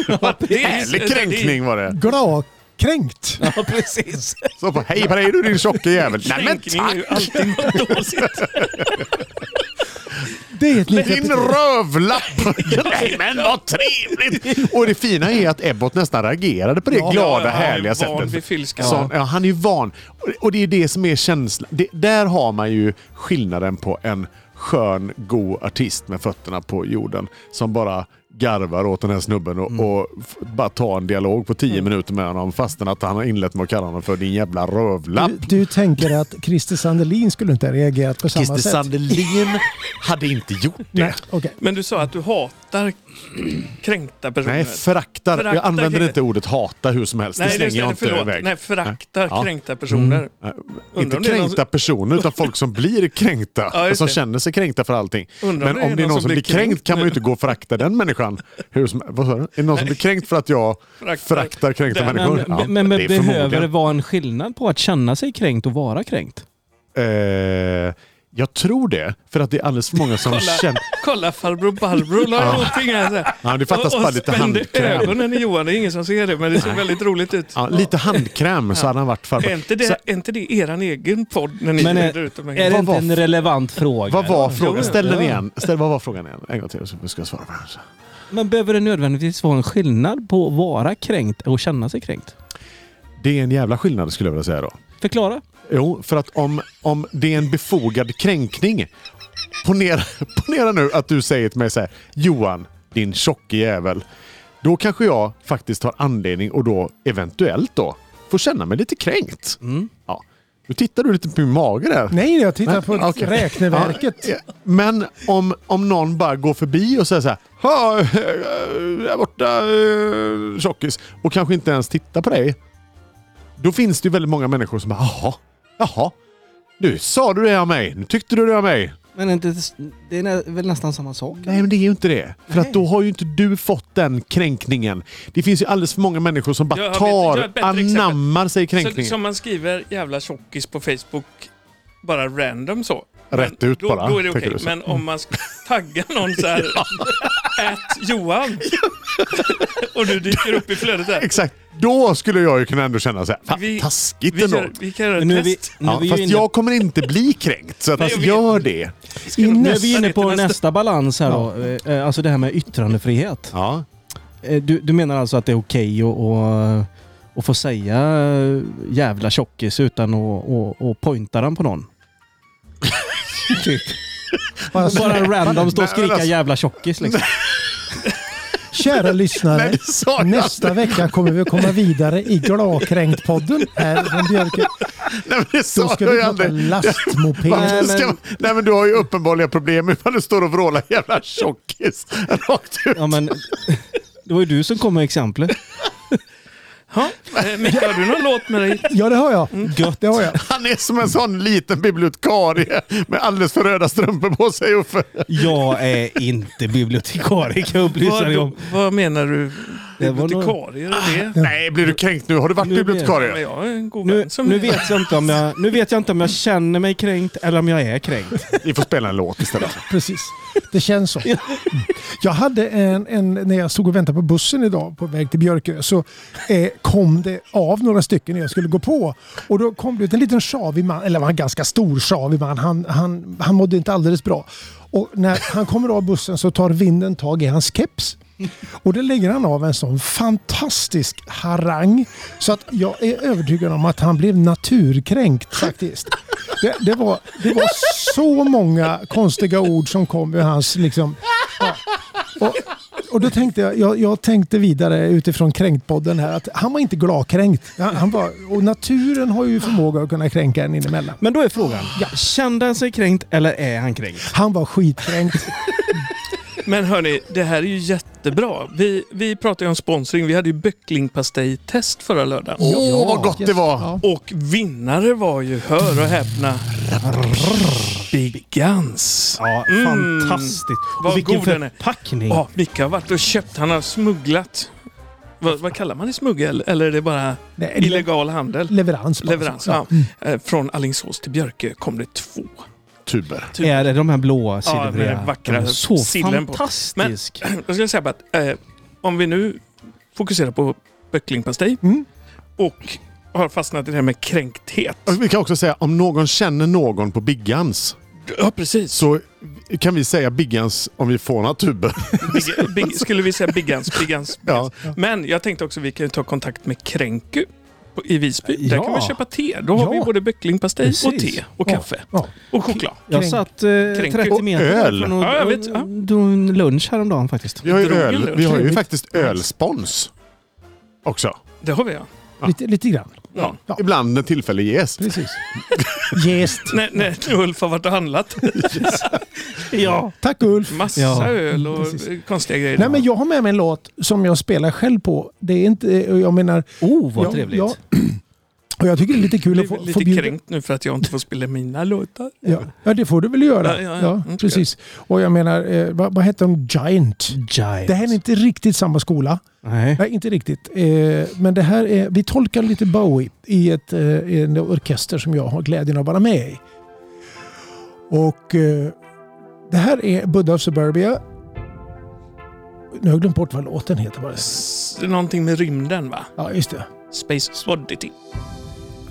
C: Ja, det är-
A: Härlig kränkning var det.
B: Gladkränkt.
D: Ja, precis.
A: Så på, hej på dig du din tjocka jävel.
C: det är-
A: Nej men
C: Kränkning är
A: tack!
C: ju alltid något dåligt.
B: Det är ett nytt
A: Din
B: epitet.
A: rövlapp! Nej men vad trevligt! Och det fina är att Ebbot nästan reagerade på det glada härliga
C: Jag är van vid
A: sättet.
C: filska.
A: Så, ja, han är ju van. Och- Och det är det som är känslan. Det, där har man ju skillnaden på en skön, god artist med fötterna på jorden som bara garvar åt den här snubben och, och f- bara tar en dialog på tio minuter med honom fastän att han har inlett med att kalla honom för din jävla rövlapp.
B: Du, du tänker att Christer Sandelin skulle inte ha reagerat på samma
A: Christer
B: sätt?
A: Sandelin hade inte gjort det.
B: Nej, okej.
C: Men du sa att du hatar kränkta personer.
A: Nej, föraktar. Jag
C: Föraktar
A: använder
C: det.
A: inte ordet hata hur som helst.
C: Nej,
A: det
C: just
A: slänger jag inte
C: förlåt.
A: iväg.
C: Nej, föraktar
A: Ja.
C: kränkta personer.
A: inte
C: Undrar om det är någon
A: kränkta
C: som-
A: personer, utan folk som blir kränkta.
C: Ja, just
A: som
C: det.
A: känner sig kränkta för allting.
C: Undrar
A: Men om det är någon som blir kränkt kan man ju
C: nu.
A: inte gå och förakta den människan. Hur som, vad sa du? Är det någon som blir kränkt för att jag
C: Föraktar.
A: föraktar kränkta
C: Den-
A: människor?
D: Men,
A: Ja,
D: men, men
A: det är
D: behöver det
A: förmodligen.
D: vara en skillnad på att känna sig kränkt och vara kränkt?
A: Eh, jag tror det, för att det är alldeles för många som
C: Kolla.
A: känner...
C: Kolla farbror Barbro la någonting här. så här.
A: Ja, det fattas
C: och,
A: bara
C: och
A: lite
C: spände
A: handkräm.
C: ögonen i Johan. Det är ingen som ser det, men det ser väldigt roligt ut.
A: Ja, lite handkräm så hade han varit
C: Är
A: farbror.
C: inte, det,
A: Så-
C: är inte det eran egen podd när ni
D: Men, eh,
C: reder ut de
D: Är
C: här
D: det
A: Vad
D: inte
A: var-
D: en relevant fråga?
A: Vad var frågan? Ställ den
D: Ja.
A: igen. Ställ, vad var frågan igen? En gång till så ska jag svara på den.
D: Men behöver det nödvändigtvis vara en skillnad på att vara kränkt och känna sig kränkt?
A: Det är en jävla skillnad skulle jag vilja säga då.
D: Förklara.
A: Jo, för att om, om det är en befogad kränkning. Ponera, ponera nu att du säger till mig så här, Johan, din tjocke jävel. Då kanske jag faktiskt har anledning och då eventuellt då får känna mig lite kränkt.
D: Mm.
A: Ja. Nu tittar du lite på min mage där.
B: Nej, jag tittar på
A: Okej.
B: räkneverket.
A: Ja, men om, om någon bara går förbi och säger så här, "Ha, eh, där borta eh, tjockis, och kanske inte ens tittar på dig. Då finns det ju väldigt många människor som bara jaha, jaha. Nu sa du det om mig, nu tyckte du det om mig.
D: Men inte, det är nä- väl nästan samma sak?
A: Nej, men det är ju inte det. För att då har ju inte du fått den kränkningen. Det finns ju alldeles för många människor som bara
C: Jag har ett- jag har
A: tar,
C: ett bättre
A: anammar sig
C: Så,
A: kränkningen.
C: som man skriver jävla tjockis på Facebook bara random så.
A: Rätt ut
C: Då,
A: bara.
C: då är det okej.
A: tänkte du så.
C: Men om man sk- taggar någon så här, ät Johan. och du dyker upp i flödet där.
A: Exakt. Då skulle jag ju kunna ändå känna så här, fan,
C: Vi-
A: taskigt
C: Vi
A: ändå.
C: kan, vi kan göra ett
D: Nu är vi,
C: test.
D: nu
A: Ja,
D: är vi ju
A: fast
D: inne,
A: jag kommer inte bli kränkt, så att
C: Nej, jag vet.
A: gör det.
D: nu är vi inne på
C: Nästa-
D: nästa,
C: nästa-
D: balans här då. Eh, eh, Alltså det här med yttrandefrihet.
A: Ja.
D: Eh, Du, du menar alltså att det är okej att- att att få säga eh, jävla tjockis utan att, att, att pointa den på någon? typ.
B: Bara så-
D: Bara random stå
A: Nej, men
D: och skrika
A: alltså-
D: jävla tjockis liksom.
B: Kära lyssnare.
A: Nej, det sa jag
B: Nästa vecka kommer vi att komma vidare i Glakränkt-podden här från Björke.
A: Nej, men det
B: Då
A: sa
B: ska
A: jag ju
B: vi prata
A: aldrig.
B: lastmoped.
A: Nej
D: Nej,
A: men...
D: men-
A: nej men du har ju uppenbarliga problem ifall du står och vrålar jävla tjockis rakt ut.
D: Ja, men, det var ju du som kom med exemplet.
C: Ja. Eh, Micke, har du någon låt med dig?
B: Ja, det har jag.
A: Mm.
D: Gött.
B: Det har jag.
A: Han är som en sån liten bibliotekarie med alldeles för röda strumpor på sig Uffe.
D: Jag är inte bibliotekarie kan jag upplysa dig om.
C: Vad, vad menar du?
D: Det var nog-
C: Bibliotekarier? Är det?
A: Nej, blir du kränkt nu? Har du varit
D: Nu blir-
C: Ja, men
A: bibliotekarie?
C: jag är en god
D: Nu,
C: vän som
D: nu, vet jag inte om jag, nu vet jag inte om jag känner mig kränkt eller om jag är kränkt.
A: Vi får spela en låt istället.
B: Precis. Det känns så. Mm. Jag hade en, en, när jag stod och väntade på bussen idag på väg till Björkö så eh, kom det av några stycken när jag skulle gå på. Och då kom det ut en liten sjavig man, eller han var en ganska stor sjavig man. Han, han, han mådde inte alldeles bra. Och när han kommer av bussen så tar vinden tag i hans keps. Och det lägger han av en sån fantastisk harang. Så att jag är övertygad om att han blev naturkränkt faktiskt. Det, det, var, det var så många konstiga ord som kom ur hans... Liksom, ja. och, och då tänkte jag, jag, jag tänkte vidare utifrån kränktpodden här att han var inte gladkränkt. Han, han var, och naturen har ju förmåga att kunna kränka en inemellan.
D: Men då är frågan, kände han sig kränkt eller är han kränkt?
B: Han var skitkränkt.
C: Men hörni, det här är ju jättebra. Vi, vi pratade ju om sponsring. Vi hade ju böcklingpastejtest förra lördagen.
A: Åh, vad gott det var!
B: Ja.
C: Och vinnare var ju, hör och häpna, Biggans.
D: Ja, fantastiskt.
C: Mm. Vad
D: Och vilken
C: god den är.
D: förpackning.
C: Ja, Micke har varit och köpt. Han har smugglat. Vad, vad kallar man det? Smuggel? Eller är det bara
B: Nej,
C: illegal handel?
B: Leverans. bara.
C: Leverans. Ja. Eh, Från Alingsås till Björkö kom det två.
A: Tuber.
D: Är det de här blåa
C: Ja,
D: silvriga?
C: med vackra
D: De är så
C: sillen på.
D: fantastisk.
C: Jag skulle säga bara att eh, om vi nu fokuserar på böcklingpastej
B: Mm.
C: och har fastnat i det här med kränkthet.
A: Och Vi kan också säga om någon känner någon på Biggans
C: Ja, precis.
A: så kan vi säga Biggans om vi får några tuber.
C: Big, big, skulle vi säga Biggans, Biggans,
A: Ja.
C: Biggans. Men jag tänkte också vi kan ju ta kontakt med Kränku på- i Visby. Där
D: Ja.
C: kan man köpa te. Då har
B: Ja.
C: vi både böcklingpastej och
D: Precis.
C: te och
B: Ja.
C: kaffe
B: Ja.
C: och choklad.
D: Jag
B: Kränk-
D: satt eh,
C: kränk-
D: 30
A: och
D: meter
A: öl.
D: från och,
C: Ja, jag vet. Ja.
D: drog en lunch häromdagen faktiskt.
A: Vi har ju,
C: Drogen
A: öl,
C: lunch.
A: vi har ju
B: Trevligt.
A: faktiskt ölspons också.
C: Det har vi ja.
B: Lite, lite grann.
C: ja.
B: Ja.
A: Ibland när tillfälle ges.
B: Precis. Gäst.
C: Nej, nej, Ulf har varit och handlat.
D: Ja.
B: Tack Ulf.
C: Massa
D: Ja.
C: öl och
B: Precis.
C: konstiga grejer.
B: Nej, men jag har med mig en låt som jag spelar själv på. Det är inte, eh, jag menar,
D: Oh, vad
B: Ja,
D: trevligt.
B: ja. och jag tycker det är lite kul
C: jag
B: att
C: blir
B: få,
C: lite
B: få bjuda...
C: kränkt nu för att jag inte får spela mina låtar.
B: Ja. ja, det får du väl göra.
C: Ja, ja, ja. Mm,
B: precis. Och jag menar, eh, vad, vad heter de? Giant.
D: Giant.
B: Det här är inte riktigt samma skola.
D: Nej.
B: Nej, inte riktigt. Eh, men det här är, vi tolkar lite Bowie i, ett, eh, i en orkester som jag har glädjen att vara med i. Och eh, det här är Buddha of Suburbia. Nu har jag glömt bort vad låten heter. Bara.
C: S- Någonting med rymden va?
B: Ja, just det.
C: Space typ. Oddity.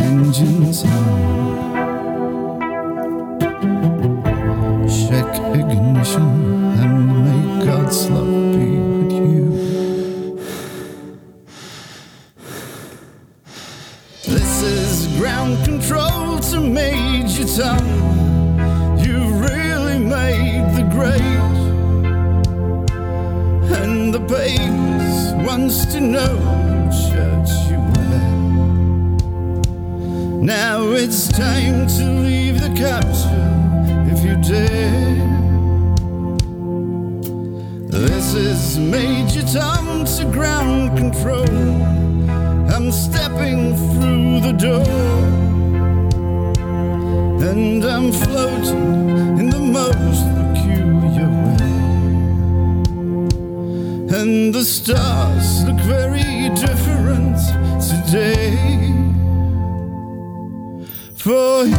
E: engines on. Check ignition and may God's love be with you. This is ground place wants to know church you wear. Now it's time to leave the capsule if you dare. This is Major Tom to ground control. I'm stepping through the door. And I'm floating in the most peculiar way. And the stars look very different today. For here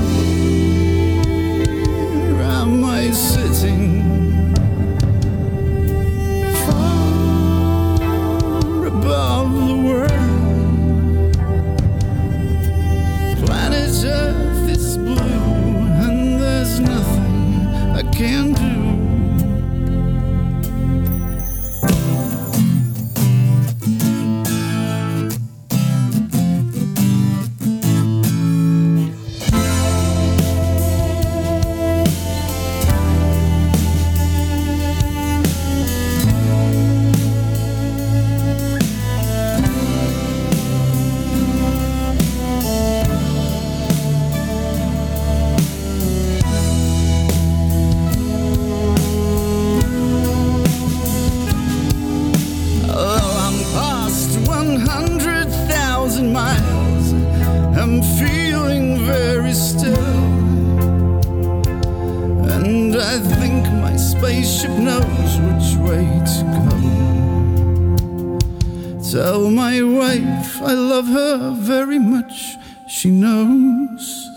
E: am I sitting far above the world. Planet Earth is blue, and there's nothing I can do. Though I'm past 100,000 miles, I'm feeling very still. And I think my spaceship knows which way to go. Tell my wife I love her very much, she knows.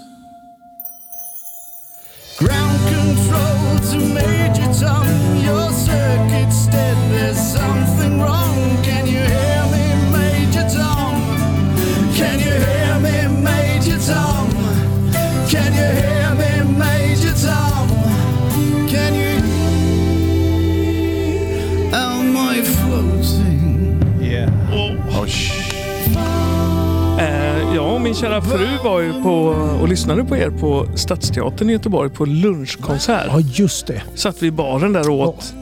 E: Ground control to Major Tom, your circuit's dead. There's something wrong. Can you hear me, Major Tom? Can you hear me, Major Tom? Can you hear me, Major Tom? Can you? Am I floating?
D: Yeah.
C: Eh, ja, och min kära fru var ju på och lyssnade på er på Stadsteatern i Göteborg på lunchkonsert.
B: Ja, just det.
C: Satt vi i baren där och åt.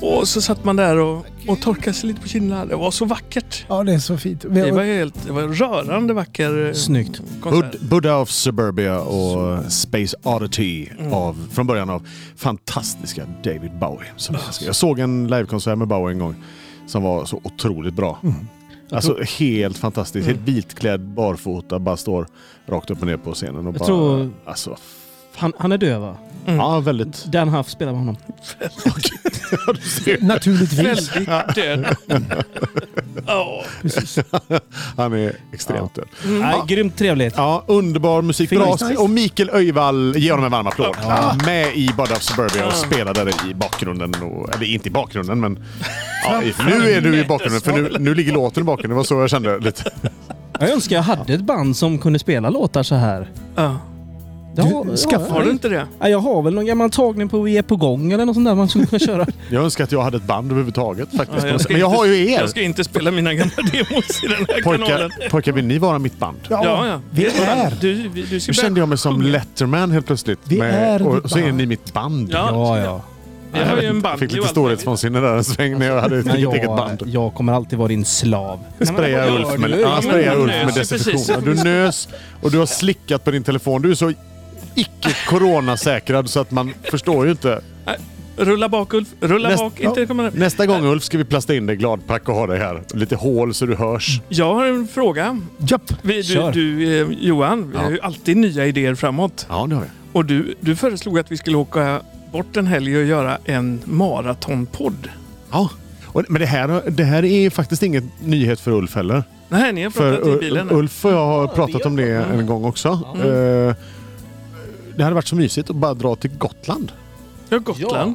C: Och så satt man där och, och torkade sig lite på kinderna. Det var så vackert.
B: Ja, det är så fint. Vi
C: Det var,
B: har,
C: helt, det var en rörande vacker eh,
D: Snyggt.
C: konsert.
A: Bud- Buddha of Suburbia och Space Oddity av, från början av fantastiska David Bowie. Som jag, älskar. jag såg en livekonsert med Bowie en gång som var så otroligt bra. Alltså helt fantastiskt. Helt vitklädd, barfota, bara står rakt upp och ner på scenen. Och
D: Jag
A: bara,
D: tror-
A: alltså,
D: Han, han är döv va?
A: Ja, väldigt...
D: Dan Huff spelar med honom.
B: naturligtvis.
C: Väldigt död. Ja,
A: Han är extremt död.
C: Mm.
D: Nej, grymt trevligt.
A: Ja, underbar musik.
D: Fint.
A: Bra.
D: Nice,
A: Och Mikael Öjvall, ge honom en varm applåd. Han är Med i Bud of Suburbia och spelar där i bakgrunden. Och, eller inte i bakgrunden, men... Ja, i- nu är du i bakgrunden, för nu, nu ligger låten i bakgrunden. Det var så jag kände lite.
D: Jag önskar jag hade ett band som kunde spela låtar så här.
C: ja.
D: Det har-
B: Du, skaffa
D: ja,
C: Har du
D: ja.
C: inte det?
D: Ja, jag har väl någon gammal tagning på Vi är på gång eller något sånt där man skulle kunna köra.
A: Jag önskar att jag hade ett band överhuvudtaget faktiskt.
C: Ja, jag ska
A: men jag
C: inte-
A: har ju er!
C: Jag ska inte spela mina gamla demos i den här kanalen.
A: Pojkar, pojkar, vill ni vara mitt band?
C: Ja, ja.
B: Vi är...
C: Du, vi- du ska
A: Nu kände jag mig som Letterman helt plötsligt.
B: Vi är
A: och
B: ditt
A: så är
B: band.
A: ni mitt band.
C: Ja,
D: Ja, ja.
C: Vi har ju en
A: Jag fick
C: banjo
A: lite
C: och allt möjligt.
A: storhetsvansinne där en sväng när jag hade ett
D: Men
A: eget eget
D: jag,
A: band.
D: jag kommer alltid vara din slav.
A: Spraya
C: vad gör
A: Ulf
C: du?
A: med,
C: Ja,
A: ja,
C: men
A: spraya
C: man
A: Ulf med
C: nös ju
A: desinfektion.
C: precis.
A: Ja, Du nös och du har slickat på din telefon. Du är så icke coronasäkrad så att man förstår ju inte.
C: Rulla bak Ulf, rulla
A: Näst-
C: bak. Inte kommer
A: Nästa gång Ulf ska vi plasta in dig i gladpack och ha dig här. Lite hål så du hörs.
C: Jag har en fråga.
B: Japp.
C: Vi, du,
D: Kör.
C: du, eh, Johan, vi har ju alltid nya idéer framåt.
A: Ja, det har vi.
C: Och du, du föreslog att vi skulle åka bort en helg och göra en maratonpodd.
A: Ja. Och, men det här, det här är faktiskt inget nyhet för Ulf heller.
C: Nej, ni har pratat
A: För
C: i bilen.
A: Ul-
C: nu.
A: Ulf och jag har pratat om det en gång också. Eh, Det hade varit så mysigt att bara dra till Gotland.
C: Ja, Gotland.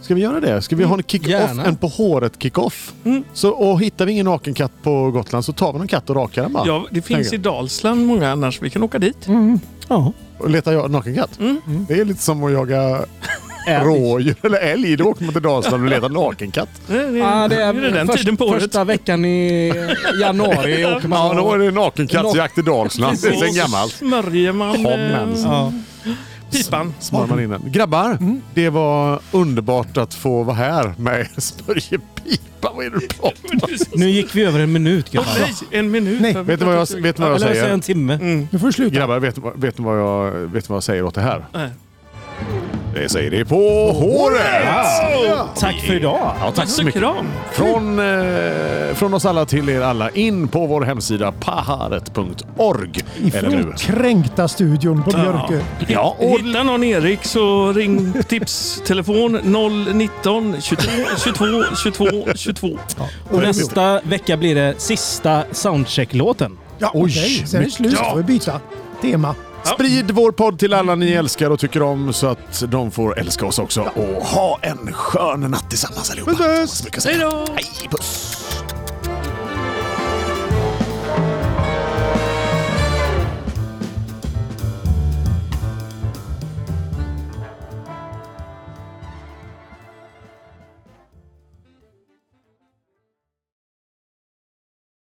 A: Ska vi göra det? Ska vi ha en kick-off?
D: Gärna.
A: En på håret kick-off? Så, och hittar vi ingen naken katt på Gotland så tar vi någon katt och rakar den bara.
C: Ja. det finns i
A: tänker
C: Dalsland många annars. Vi kan åka dit.
D: Ja.
A: Och letar jag naken katt. Det är lite som att jaga rådjur eller älg. Då åker man till Dalsland och letar naken katt.
C: Det är,
D: Ja,
C: det är ju den
D: först-
C: tiden på året.
D: Första veckan i januari åker man
A: Ja, då är det nakenkattsjakt i Dalsland
C: Och
A: sen
C: så
A: gammalt.
C: smörjer man
A: Kom,
C: eh,
A: men.
D: Ja.
C: pipan.
A: Smör man in den. Grabbar, det var underbart att få vara här med Smörjepipan. Fan, vad är det du pratar om?
D: Nu gick vi över en minut grabbar.
C: Nej, en minut.
B: Nej.
C: har vi
A: Vet ni vad jag,
C: pratat-
A: vet ni vad jag
D: Eller säg
A: säger?
D: en timme.
C: Mm.
B: Nu får du sluta.
A: Grabbar, vet, ni vad- vet ni vad jag, vet ni vad jag säger åt det här?
C: Nej.
A: Det säger det på håret!
D: Tack för idag.
A: Ja,
B: Alltså,
A: tack så mycket.
C: Kram.
A: Från, eh, från oss alla till er alla, in på vår hemsida paharet.org. Eller nu.
B: Ifrån kränkta studion på Björkö.
A: Ja, och
C: Hitta någon Erik så ring tipstelefon 019 22 22 22 22.
D: Och nästa vecka blir det sista soundcheck-låten.
B: Ja,
A: Oj,
B: okej. Sen är det
A: mycket.
B: slut. Då får vi byta tema.
A: sprid vår podd till alla ni älskar och tycker om så att de får älska oss också. Och ha en skön natt tillsammans allihopa. Puss, puss! Hej då! Hej, puss!